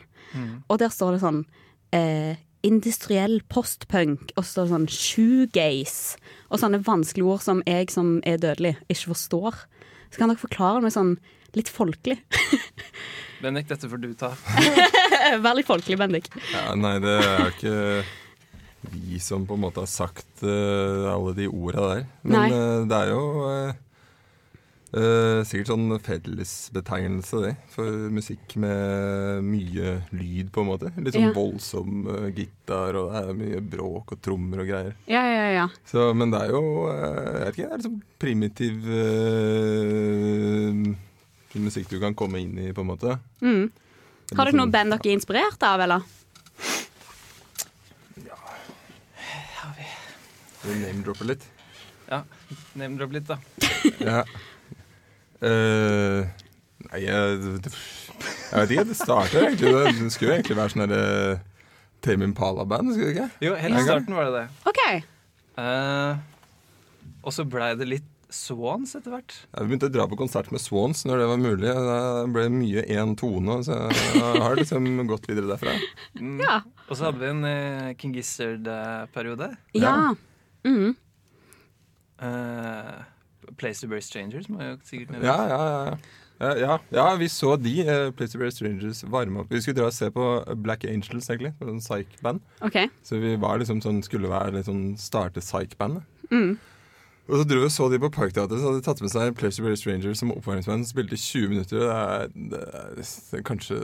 C: Og der står det sånn eh, Industriell postpunk, og så står det sånn shoegaze. Og sånne vanskelige ord som jeg som er dødelig, ikke forstår. Så kan dere forklare det med sånn litt folkelig.
O: Bendik, dette får du ta.
C: Vær litt folkelig, Bendik.
N: Ja, nei, det er jo ikke vi som på en måte har sagt eh, alle de orda der. Men
C: Nei.
N: eh, det er jo eh, eh, sikkert sånn fellesbetegnelse, det, for musikk med mye lyd, på en måte. Litt sånn
C: Ja.
N: voldsom eh, gitar, og det er mye bråk og trommer og greier.
C: Ja, ja, ja.
N: Så, men det er jo eh, jeg vet ikke, det er liksom primitiv eh, musikk du kan komme inn i, på en måte.
C: Mm. Har dere noen band dere er inspirert av, eller?
N: Du name-dropper litt.
O: Ja, Name-drop litt, da.
N: Ja. Eh, nei, jeg, det- jeg vet ikke. Det starter egentlig Det, det skulle jo egentlig være sånn derre Tame Impala-band, skulle det ikke?
O: Jo, helt i
N: En gang.
O: starten var det det.
C: OK.
O: Eh, og så blei det litt Swans etter hvert.
N: Jeg begynte å dra på konsert med Swans når det var mulig. Det ble mye én tone, så jeg har liksom gått videre derfra.
O: Mm.
C: Ja.
O: Og så hadde vi en eh, King Gizzard-periode.
C: Ja. Mm.
O: Eh, Place to Bury Strangers må jo sikkert nevnes.
N: Ja, ja, ja. Eh, ja, ja, vi så de, eh, Place to Bear Strangers, varme opp. Vi skulle dra og se på Black Angels, egentlig. på en Psych-band.
C: OK.
N: Så vi var liksom sånn, skulle være litt sånn starte Psych-band. da.
C: Mm.
N: Og så dro vi og så de på Parkteatret, så hadde de tatt med seg Place to Bear Strangers som oppvarmingsband. Spilte i 20 minutter. og Det, er, det, er, kanskje,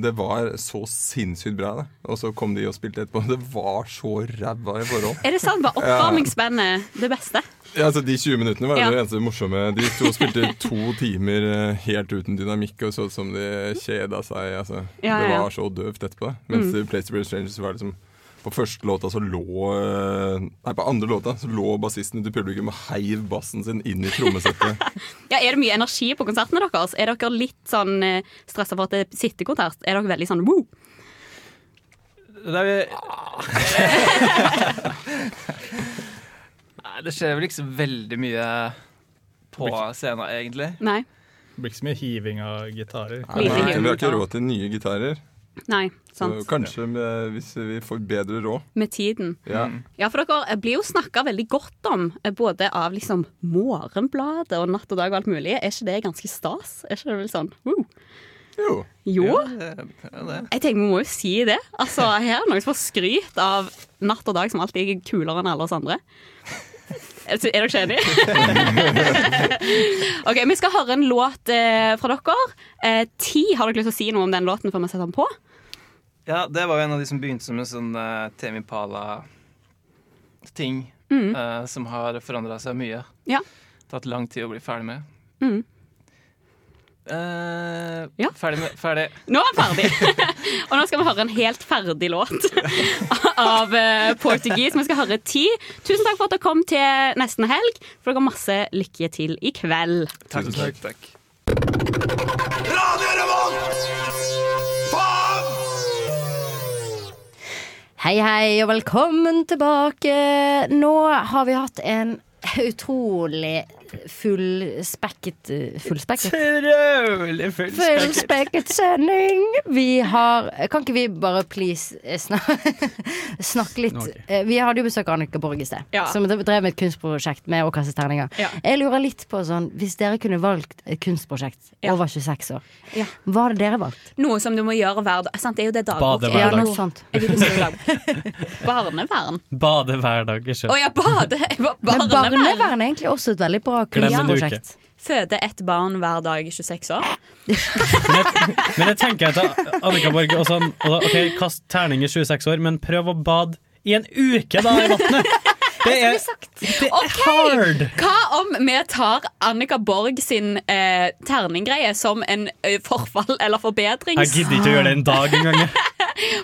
N: det var så sinnssykt bra, da. Og så kom de og spilte etterpå. Det var så ræva i forhold.
C: Er det sant? Var oppvarmingsbandet det beste?
N: Ja, altså De 20 minuttene var
C: Ja.
N: det eneste morsomme. De sto og spilte to timer eh, helt uten dynamikk og så ut som de kjeda seg. Altså,
C: Ja, ja,
N: Det
C: ja.
N: var så døvt etterpå. Mens
C: Mm.
N: mm. Place to Be Strangers var liksom På første låta så lå eh, Nei, på andre låta så lå bassisten ute i publikum og heiv bassen sin inn i trommesettet.
C: Ja, Er det mye energi på konsertene deres? Er dere litt sånn stressa for at det er sittekonsert? Er dere veldig sånn wow?
O: Det er Nei, det skjer vel ikke så veldig mye på scenen, egentlig.
C: Nei.
P: Det blir ikke så mye hiving av gitarer.
N: Nei, vi har ikke- vi har ikke råd til nye gitarer.
C: Nei,
N: Så
C: sant.
N: kanskje med, hvis vi får bedre råd.
C: Med tiden.
N: Ja.
C: Ja, for dere eh, blir jo snakka veldig godt om, eh, både av liksom Morgenbladet og Natt og Dag og alt mulig. Er ikke det ganske stas? Er ikke det vel sånn wow?
N: Jo.
C: Jo?
O: det.
C: Jeg tenker vi må jo si det. Altså, her er noen som får skryt av Natt og Dag som alltid er kulere enn alle oss andre. Er er dere ikke enige? ok, vi skal høre en låt eh, fra dere. Eh, ti, har dere lyst til å si noe om den låten før vi setter den på?
O: Ja, det var jo en av de som begynte som en sånn uh, Temi Pala-ting.
C: Mm.
O: eh, som har forandra seg mye.
C: Ja.
O: Tatt lang tid å bli ferdig med.
C: Mm.
O: Eh, Ferdig med Ferdig.
C: Nå er han ferdig! og nå skal vi høre en helt ferdig låt av eh, Portugis. Vi skal høre ti. Tusen takk for at dere kom til nesten helg. For dere har masse lykke til i kveld.
O: Takk, takk, takk.
G: Radio Revolt! Faen!
B: Hei, hei, og velkommen tilbake. Nå har vi hatt en utrolig fullspekket eh, Fullspekket?
G: Utrolig
B: Fullspekket sending. Vi har Kan ikke vi bare please eh, snak, snakke litt
G: Ok.
B: Eh, Vi hadde jo besøk av Annika Borg i sted,
G: Ja.
B: som drev med et kunstprosjekt med å kaste terninger.
G: Ja.
B: Jeg lurer litt på sånn Hvis dere kunne valgt et kunstprosjekt over 26 år, hva hadde dere valgt?
C: Noe som du må gjøre hver dag. Sant, det er jo det dagbok
B: Bade
C: er.
B: hver dag.
C: nå.
B: Ja, sant.
C: Jeg vil ikke si dagbok. Barnevern.
D: Bade hver dag. ikke sant?
C: Å ja, bade. Jeg var
B: Men
C: Barnevern.
B: Barnevern er egentlig også et veldig bra
D: Glem en uke.
B: kunstprosjekt.
C: Føde ett barn hver dag i 26 år.
D: Men jeg tenker at Annika Borg og sånn og da, OK, kast terning i 26 år, men prøv å bade i en uke, da, i vannet! Det er
C: OK!
D: hard!
C: Hva om vi tar Annika Borg sin eh, terninggreie som en eh, forfall eller forbedrings...
D: Jeg gidder ikke å gjøre det en dag engang. jeg.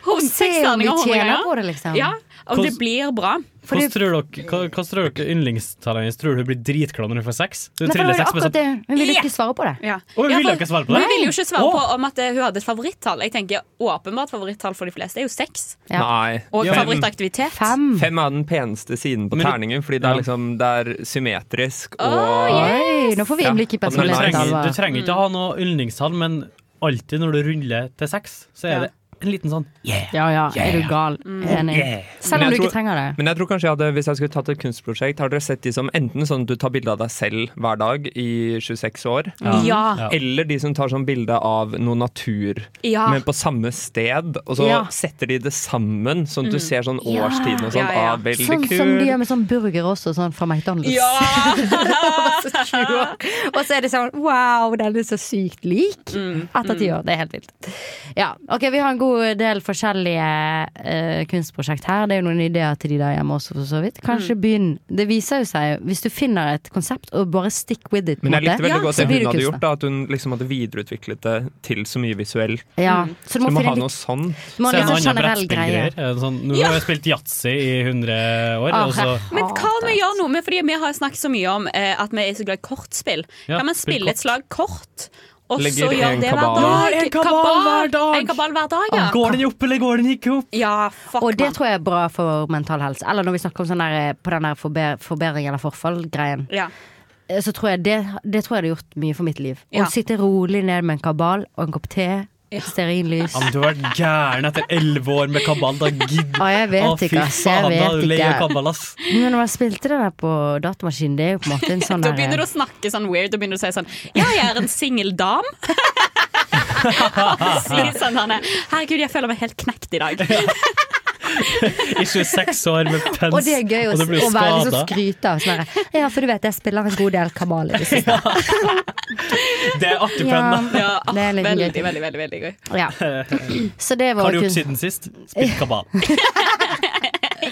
C: Hun seks
B: Se om de
C: terninger hun
B: tjener
C: ganger.
B: på det, liksom.
C: Ja, om det
D: Hvordan-
C: blir bra.
D: Hvordan tror dere, hva, hva tror dere yndlingstallet hennes? Tror du hun blir dritglad når hun får sex?
C: Nei,
D: Hun
C: for det var
D: triller
C: jo
D: sex med
C: akkurat
D: sånn
B: Hun ville ikke svare på det.
C: Ja.
D: Å, hun
C: Ja,
D: ville
C: for-
D: ikke svare på det?
C: Hun ville jo ikke svare
D: Å.
C: på om at eh, hun hadde et favorittall. Jeg tenker Åpenbart favorittall for de fleste er jo seks.
F: Nei.
C: Og
F: Ja, men-
C: favorittaktivitet.
F: Fem er den peneste siden på terningen, fordi det er liksom Det er symmetrisk og
B: Oi, nå får vi innblikk i
F: Ja, og
D: Du
F: den er nice.
D: trenger, du trenger ikke å ha noe yndlingstall, men alltid når du ruller til seks, så er det en liten sånn yeah.
B: Ja, ja, er du
D: Yeah.
B: gal? Enig.
F: Yeah.
B: Mm. Selv om
F: Eh, Men jeg
B: du ikke
F: tror-
B: trenger det.
F: Men jeg tror kanskje jeg hadde, hvis jeg skulle tatt et kunstprosjekt, har dere sett de som enten sånn at du tar bilde av deg selv hver dag i 26 år,
C: Ja.
B: Mm.
C: Ja.
F: eller de som tar sånn bilde av noe natur,
C: Ja.
F: men på samme sted, og så
B: Ja.
F: setter de det sammen, sånn
B: Mm.
F: at du ser sånn
B: Ja.
F: årstiden og sånn.
B: Ja, ja.
F: Ah, veldig
B: sånn
F: kul.
B: som de gjør med sånn burger også, sånn fra McDonald's. og så er det sånn wow, den er så sykt lik etter ti år. Det er helt vilt. Ja, ok, Vi har en god del forskjellige eh, kunstprosjekt her. Det er jo noen ideer til de der hjemme også, for så vidt. Kanskje begynn. Det viser jo seg, hvis du finner et konsept og bare stick with it, på en
F: Men jeg
B: måte,
F: likte veldig godt
B: så
F: det
B: blir
F: hun hadde
B: kunstner.
F: gjort, da, at hun liksom hadde videreutviklet det til så mye visuelt.
B: Ja,
F: Mm.
B: så
F: Så
B: du må
F: du må
B: finne
F: ha
B: litt-
F: noe sånn.
B: Du må ha litt sånn generell greie.
D: Sånn, nå
C: Ja.
D: har jeg spilt yatzy i 100 år.
B: Ah,
D: og så,
C: Men hva om vi gjør noe med, fordi vi har snakket så mye om eh, at vi er så glad i kortspill.
D: Ja,
C: kan man
D: spill
C: spille et slag kort, og
D: Legger
C: så gjøre
D: en
C: det hver
D: kabal.
C: dag?
D: Ja, en kabal hver dag.
C: En kabal hver dag, ja.
D: Går den opp, eller går den ikke opp?
C: Ja, fuck
B: Og det tror jeg er bra for mental helse. Eller når vi snakker om sånn der, eh, på den der forbe- forbedring eller forfall-greien.
C: Ja.
B: Eh, Så tror jeg det, det tror jeg hadde gjort mye for mitt liv.
C: Ja.
B: Å sitte rolig ned med en kabal og en kopp te, stearinlys.
D: Ja, men du har vært gæren etter 11 år med kabal. Da gidd.
B: Å, Ah, jeg vet
D: Å, fy
B: ikke, ass. Jeg
D: faen, da
B: vet
D: er du lei av
B: ikke.
D: kabal, ass.
B: Men når jeg spilte det der på datamaskinen, det er jo på en måte en sånn
C: Da begynner du
B: derre
C: å snakke sånn weird. Da begynner du å si sånn Ja, jeg er en singel dam. Og si sånn han er Herregud, jeg føler meg helt knekt i dag.
D: I 26 år med pens.
B: og det er gøy å,
D: og du blir
B: å være liksom
D: skadet.
B: skryte av sånn her, Ja, for du vet, jeg spiller en god del kabal i det siste.
D: Det er artig
B: Ja.
D: penn, da.
B: Ja, Det er litt veldig, gøy.
C: veldig, veldig, veldig gøy.
B: Ja. Så det
D: Hva
B: var
D: har du gjort
B: kun-
D: siden sist? Spilt kabal.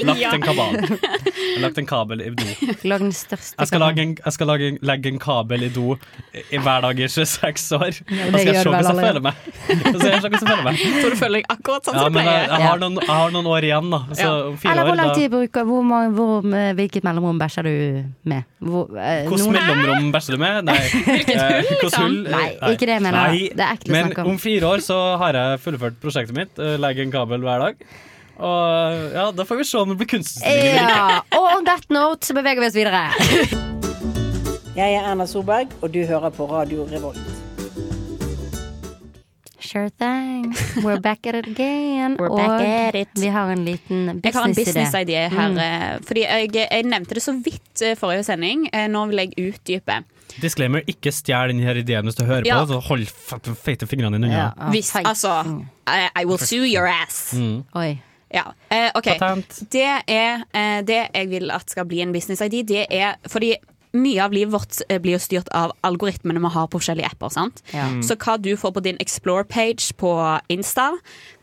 D: Lagt en kabal. Lagt en kabel i do.
B: Lag den største
D: Jeg skal,
B: kabalen.
D: lage en, jeg skal lage en, legge en kabel i do i hver dag i 26 år. Da skal
B: gjør
D: jeg se
B: du vel
D: hvordan jeg
B: allerede.
D: føler meg. Da skal jeg se hvordan jeg føler meg.
C: Så du føler deg akkurat sånn
D: Ja,
C: som du
D: men jeg,
C: pleier.
D: jeg, har noen, jeg har noen år igjen, da. Så
C: Ja.
D: Altså, om fire
B: Eller hvor
D: år, da.
B: lang tid bruker hvor, mange- hvor, med Hvilket mellomrom bæsjer du med? Hvor, eh,
D: Hvilket
B: noen-
D: mellomrom bæsjer du med? Nei.
B: Hvilket
D: Eh,
B: hull,
D: hvilket
B: liksom?
D: hull?
B: Nei, ikke det jeg mener.
D: Nei.
B: Det er ekkelt å
D: Men
B: snakke om.
D: om fire år så har jeg fullført prosjektet mitt, eh, legger en kabel hver dag. Og ja, da får vi se om det blir kunstutstilling eller ikke.
B: Ja. Og on that note så beveger vi oss videre.
Q: Jeg er Erna Solberg, og du hører på Radio Revolt.
B: Sure thing. We're back at it again.
C: We're
B: Og
C: back at it.
B: vi har en liten
C: Jeg har en
B: businessidé.
C: businessidé her.
B: Mm.
C: eh, Fordi jeg, jeg nevnte det så vidt eh, forrige sending. Eh, Nå vil jeg utdype.
D: Disclaimer, ikke stjel denne her ideen hvis du hører
C: Ja.
D: på. Så hold f- feite fingrene dine unna.
C: Hvis, altså I, I will sue your ass.
D: Mm.
B: Oi.
C: Ja, eh, ok. Det er eh, det jeg vil at skal bli en business-ID. Det er fordi mye av livet vårt eh, blir jo styrt av algoritmene vi har på forskjellige apper. sant?
B: Ja. Mm.
C: Så hva du får på din Explore-page på Insta,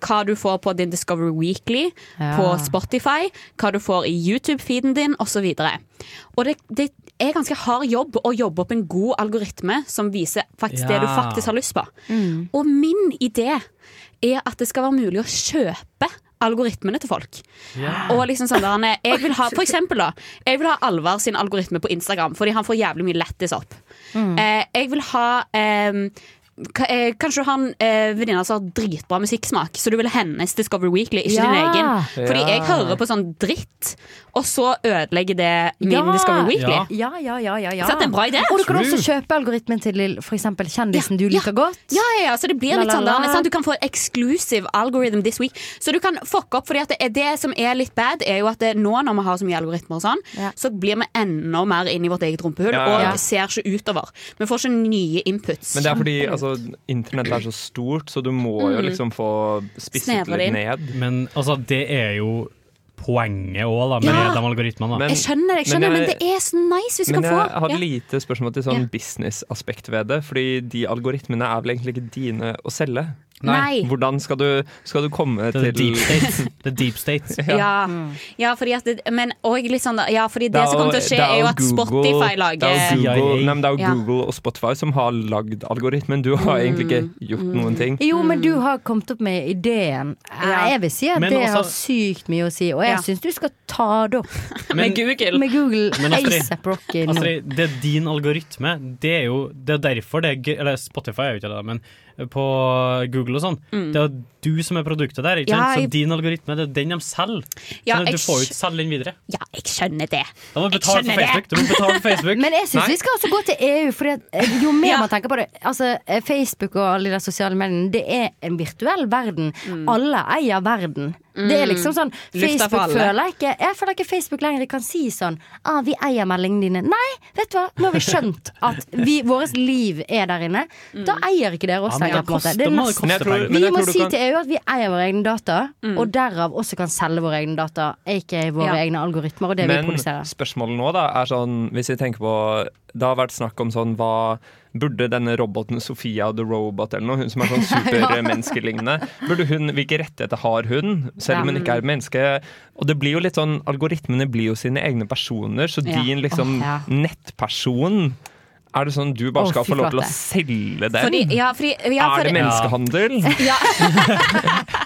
C: hva du får på din Discover Weekly,
B: Ja.
C: på Spotify, hva du får i YouTube-feeden din, osv. Og det, det er ganske hard jobb å jobbe opp en god algoritme som viser faktisk det du
B: Ja.
C: faktisk har lyst på. Og min idé er at det skal være mulig å kjøpe algoritmene til folk. Og liksom sånn der, han er- jeg vil ha, For eksempel, da. Jeg vil ha Alvar sin algoritme på Instagram, fordi han får jævlig mye lættis opp.
F: Mm.
C: Eh, jeg vil ha eh, ka- eh, Kanskje du har en eh, venninne som har dritbra musikksmak, så du vil ha hennes Discover Weekly, ikke din
B: Ja.
C: egen. Fordi
B: Ja.
C: jeg hører på sånn dritt, og så ødelegger det min
B: Ja.
C: Discover Weekly.
B: Ja, ja, ja. ja, ja.
C: Så det er en bra idé.
B: Og du kan
C: True.
B: også kjøpe algoritmen til f.eks. kjendisen du liker godt.
C: Ja, ja, ja, så det blir
B: La,
C: litt
B: la,
C: sånn
B: la.
C: der, sant? Du kan få exclusive algorithm this week. Så du kan fucke opp, fordi at det, er det som er litt bad, er jo at det, nå når vi har så mye algoritmer og sånn, så blir vi enda mer inn i vårt eget rumpehull
F: Ja, ja, ja.
C: og ser ikke utover. Vi får ikke nye inputs.
F: Men det er fordi altså, internett er så stort, så du må jo
C: Mm.
F: liksom få spisset
C: Snevre det inn.
F: litt ned.
D: Men altså, det er jo poenget òg, da, med
C: Ja.
D: de algoritmene. da.
C: jeg skjønner det, jeg skjønner, men, det er så nice hvis du
F: Men
C: kan få.
F: jeg har
C: Ja.
F: et lite spørsmål til
C: Ja.
F: sånn businessaspekt ved det. Fordi de algoritmene er vel egentlig ikke dine å selge?
C: Nei. Nei.
F: Hvordan skal du, skal du komme
D: Det er
F: til
D: deep state. Det er deep state.
C: Ja. ja, fordi at det, men og litt sånn da, Ja, fordi det,
F: er
C: som kommer til å
F: jo-
C: skje,
F: det
C: er jo at
F: Google-
C: Spotify
F: Det
C: lager
F: er jo Google, nei, men det er jo
C: Ja. Mm.
F: Google og Spotify som har lagd algoritmen. Du har egentlig ikke gjort noen ting.
B: Jo, men du har kommet opp med ideen. Jeg vil si at
F: Men
B: det
F: også-
B: har sykt mye å si, og jeg
F: Ja.
B: syns du skal ta det opp.
D: Men-
B: Med Google.
D: Men Astrid,
B: ASAP Rocky nå.
D: Astrid, Altså, det er din algoritme. Det er jo det er derfor det er gøy Eller Spotify er jo ikke det, da, men på Google Google og sånn.
C: Mm.
D: Det er jo du som er produktet der, ikke
C: Ja,
D: sant?
C: jeg-
D: Så din algoritme, det er jo den de selger.
C: Ja,
D: så
C: jeg
D: du får jo
C: skj-
D: ikke selge den videre.
C: Ja, jeg skjønner det.
D: Da må du betale for Facebook. Du må betale for Facebook.
B: Men jeg syns
D: Nei.
B: vi skal altså gå til EU, for eh, jo mer man tenker på det Altså, eh, Facebook og alle de der sosiale mediene, det er en virtuell verden. Alle eier verden. Det er liksom sånn
C: Mm. Lufta for
B: Facebook
C: alle.
B: føler jeg ikke Jeg føler ikke Facebook lenger kan si sånn ah, 'Vi eier meldingene dine'. Nei, vet du hva, nå har vi skjønt at vi, vårt liv er der inne.
C: Mm.
B: Da eier ikke dere oss
F: Ja, men
B: lenger.
F: det
B: på en måte.
F: koster-
B: Det er nesten-
F: må det koste Men jeg tror- penger.
B: Vi
F: men jeg
B: må
F: tror du
B: si
F: kan-
B: til EU at vi eier våre egne data, og derav også kan selge våre egne data. Ikke våre
C: Mm. Ja.
B: egne algoritmer og det vi
F: Men
B: produserer.
F: spørsmålet nå da er sånn, hvis vi tenker på Det har vært snakk om sånn hva Burde denne roboten Sofia the Robot eller noe, hun som er sånn supermenneskelignende Burde hun, Hvilke rettigheter har hun, selv om hun
O: Ja.
F: ikke er menneske? Og det blir jo litt sånn Algoritmene blir jo sine egne personer, så
O: Ja.
F: din
C: Åh,
F: liksom
C: ja.
F: nettperson er det sånn du bare
C: Å,
F: skal
C: fy
F: få lov til å
C: flate.
F: selge den?
C: Fordi, ja, fordi, ja,
F: er det
C: fordi-
F: menneskehandel?
C: Ja.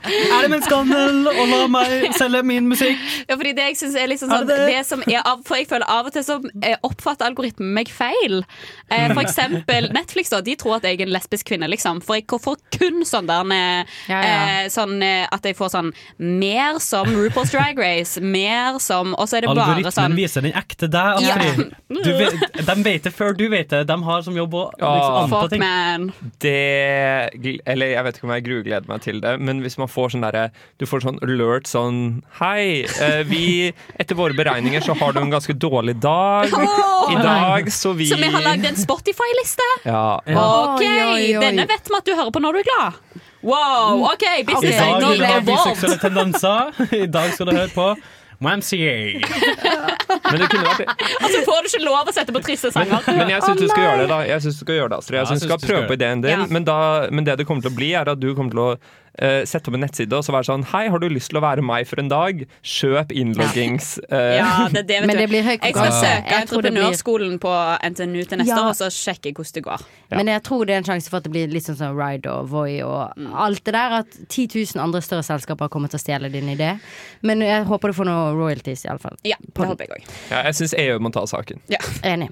D: Er det menneskehandel å la meg selge min musikk?
C: Ja, fordi det jeg synes er liksom
D: Er
C: sånn
D: det det?
C: det som er av, For jeg føler av og til så eh, oppfatter algoritmen meg feil. Eh, for eksempel Netflix, da. De tror at jeg er en lesbisk kvinne, liksom. For jeg får kun sånn der eh,
B: Ja, ja.
C: eh, Sånn eh, at jeg får sånn Mer som RuPaul's Drag Race. Mer som Og så er det bare
D: Algoritmen
C: sånn
D: viser den ekte deg, Astrid.
C: Ja.
D: Du vet, de vet det før du vet det. De har som jobb å liksom,
F: Ja.
D: anta
F: Fuck
D: ting.
C: eh,
F: Det Eller jeg vet ikke om jeg grugleder meg til det, men hvis man får sånn derre Du får sånn alert sånn Hei, eh, vi Etter våre beregninger så har du en ganske dårlig dag.
C: Åh!
F: I dag, så vi
C: Så vi har lagd en Spotify-liste.
F: Ja.
C: OK,
F: Oi, oi, oi.
C: denne vet vi at du hører på når du er glad. Wow, OK,
D: I
C: business
D: dag vil du ha
C: angle
D: biseksuelle tendenser. I dag skal du høre på Wamsier.
F: Men det kunne vært
C: Og så Altså, får du ikke lov å sette på triste sanger.
F: Men jeg syns du skal gjøre det, da. Jeg synes du skal gjøre det, Astrid. Jeg
O: Ja,
F: synes du skal prøve på ideen din,
C: Ja.
F: men, da, men det det kommer til å bli, er at du kommer til å eh, sette opp en nettside og så være sånn Hei, har du lyst til å være meg for en dag? Kjøp innloggings... eh,
C: Ja, det, er det vet
B: Men
C: du.
B: det blir høy
C: Jeg skal
F: konkurranse.
C: søke
B: Jeg tror det blir-
C: entreprenørskolen på NTNU til neste
B: Ja.
C: år, og så sjekke hvordan det går.
B: Men jeg tror det er en sjanse for at det blir litt sånn som Ride og Voi og
C: Mm.
B: alt det der. At 10 000 andre større selskaper kommer til å stjele din idé. Men jeg håper du får noe royalties, iallfall.
C: Ja, det håper jeg òg.
F: ja, jeg syns EU må ta saken.
B: Enig.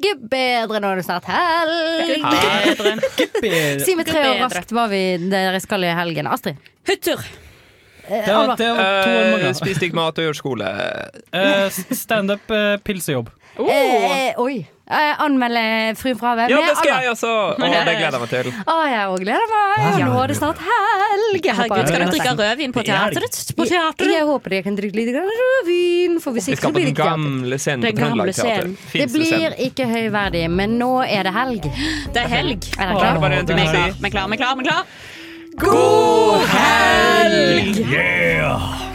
B: Gud bedre nå er det snart helg. Si med tre år raskt hva vi dere skal i helgen. Astrid?
C: Hyttetur.
B: Det var- det var to år
F: Eh,
B: mange.
F: Spis digg mat og gjør skole.
D: Eh, Standup, eh, pilsejobb.
B: Eh, oi. Eh, anmelde Fruen fra havet
F: Ja,
B: med
F: det skal
B: Anna.
F: jeg også! Og det gleder jeg meg til.
B: Å, jeg òg gleder meg. Og nå er det snart helg. Jeg håper
C: Herregud, skal
B: jeg
C: du
B: kan
C: drikke
B: se.
C: rødvin på teatret? På
B: Jeg, jeg håper jeg kan drikke litt grann rødvin, for hvis
F: Vi
B: ikke så
F: skal på
B: blir det ikke
F: den
B: teater.
F: gamle scenen på
B: Den gamle
F: Trøndelag Teater.
B: scenen. Det blir ikke høyverdig, men nå er det helg.
C: Det er helg.
B: Er dere
F: Bare
B: klare?
F: en ting å si.
C: Vi er klar, vi er klar, vi er klar.
B: God helg!
F: Yeah!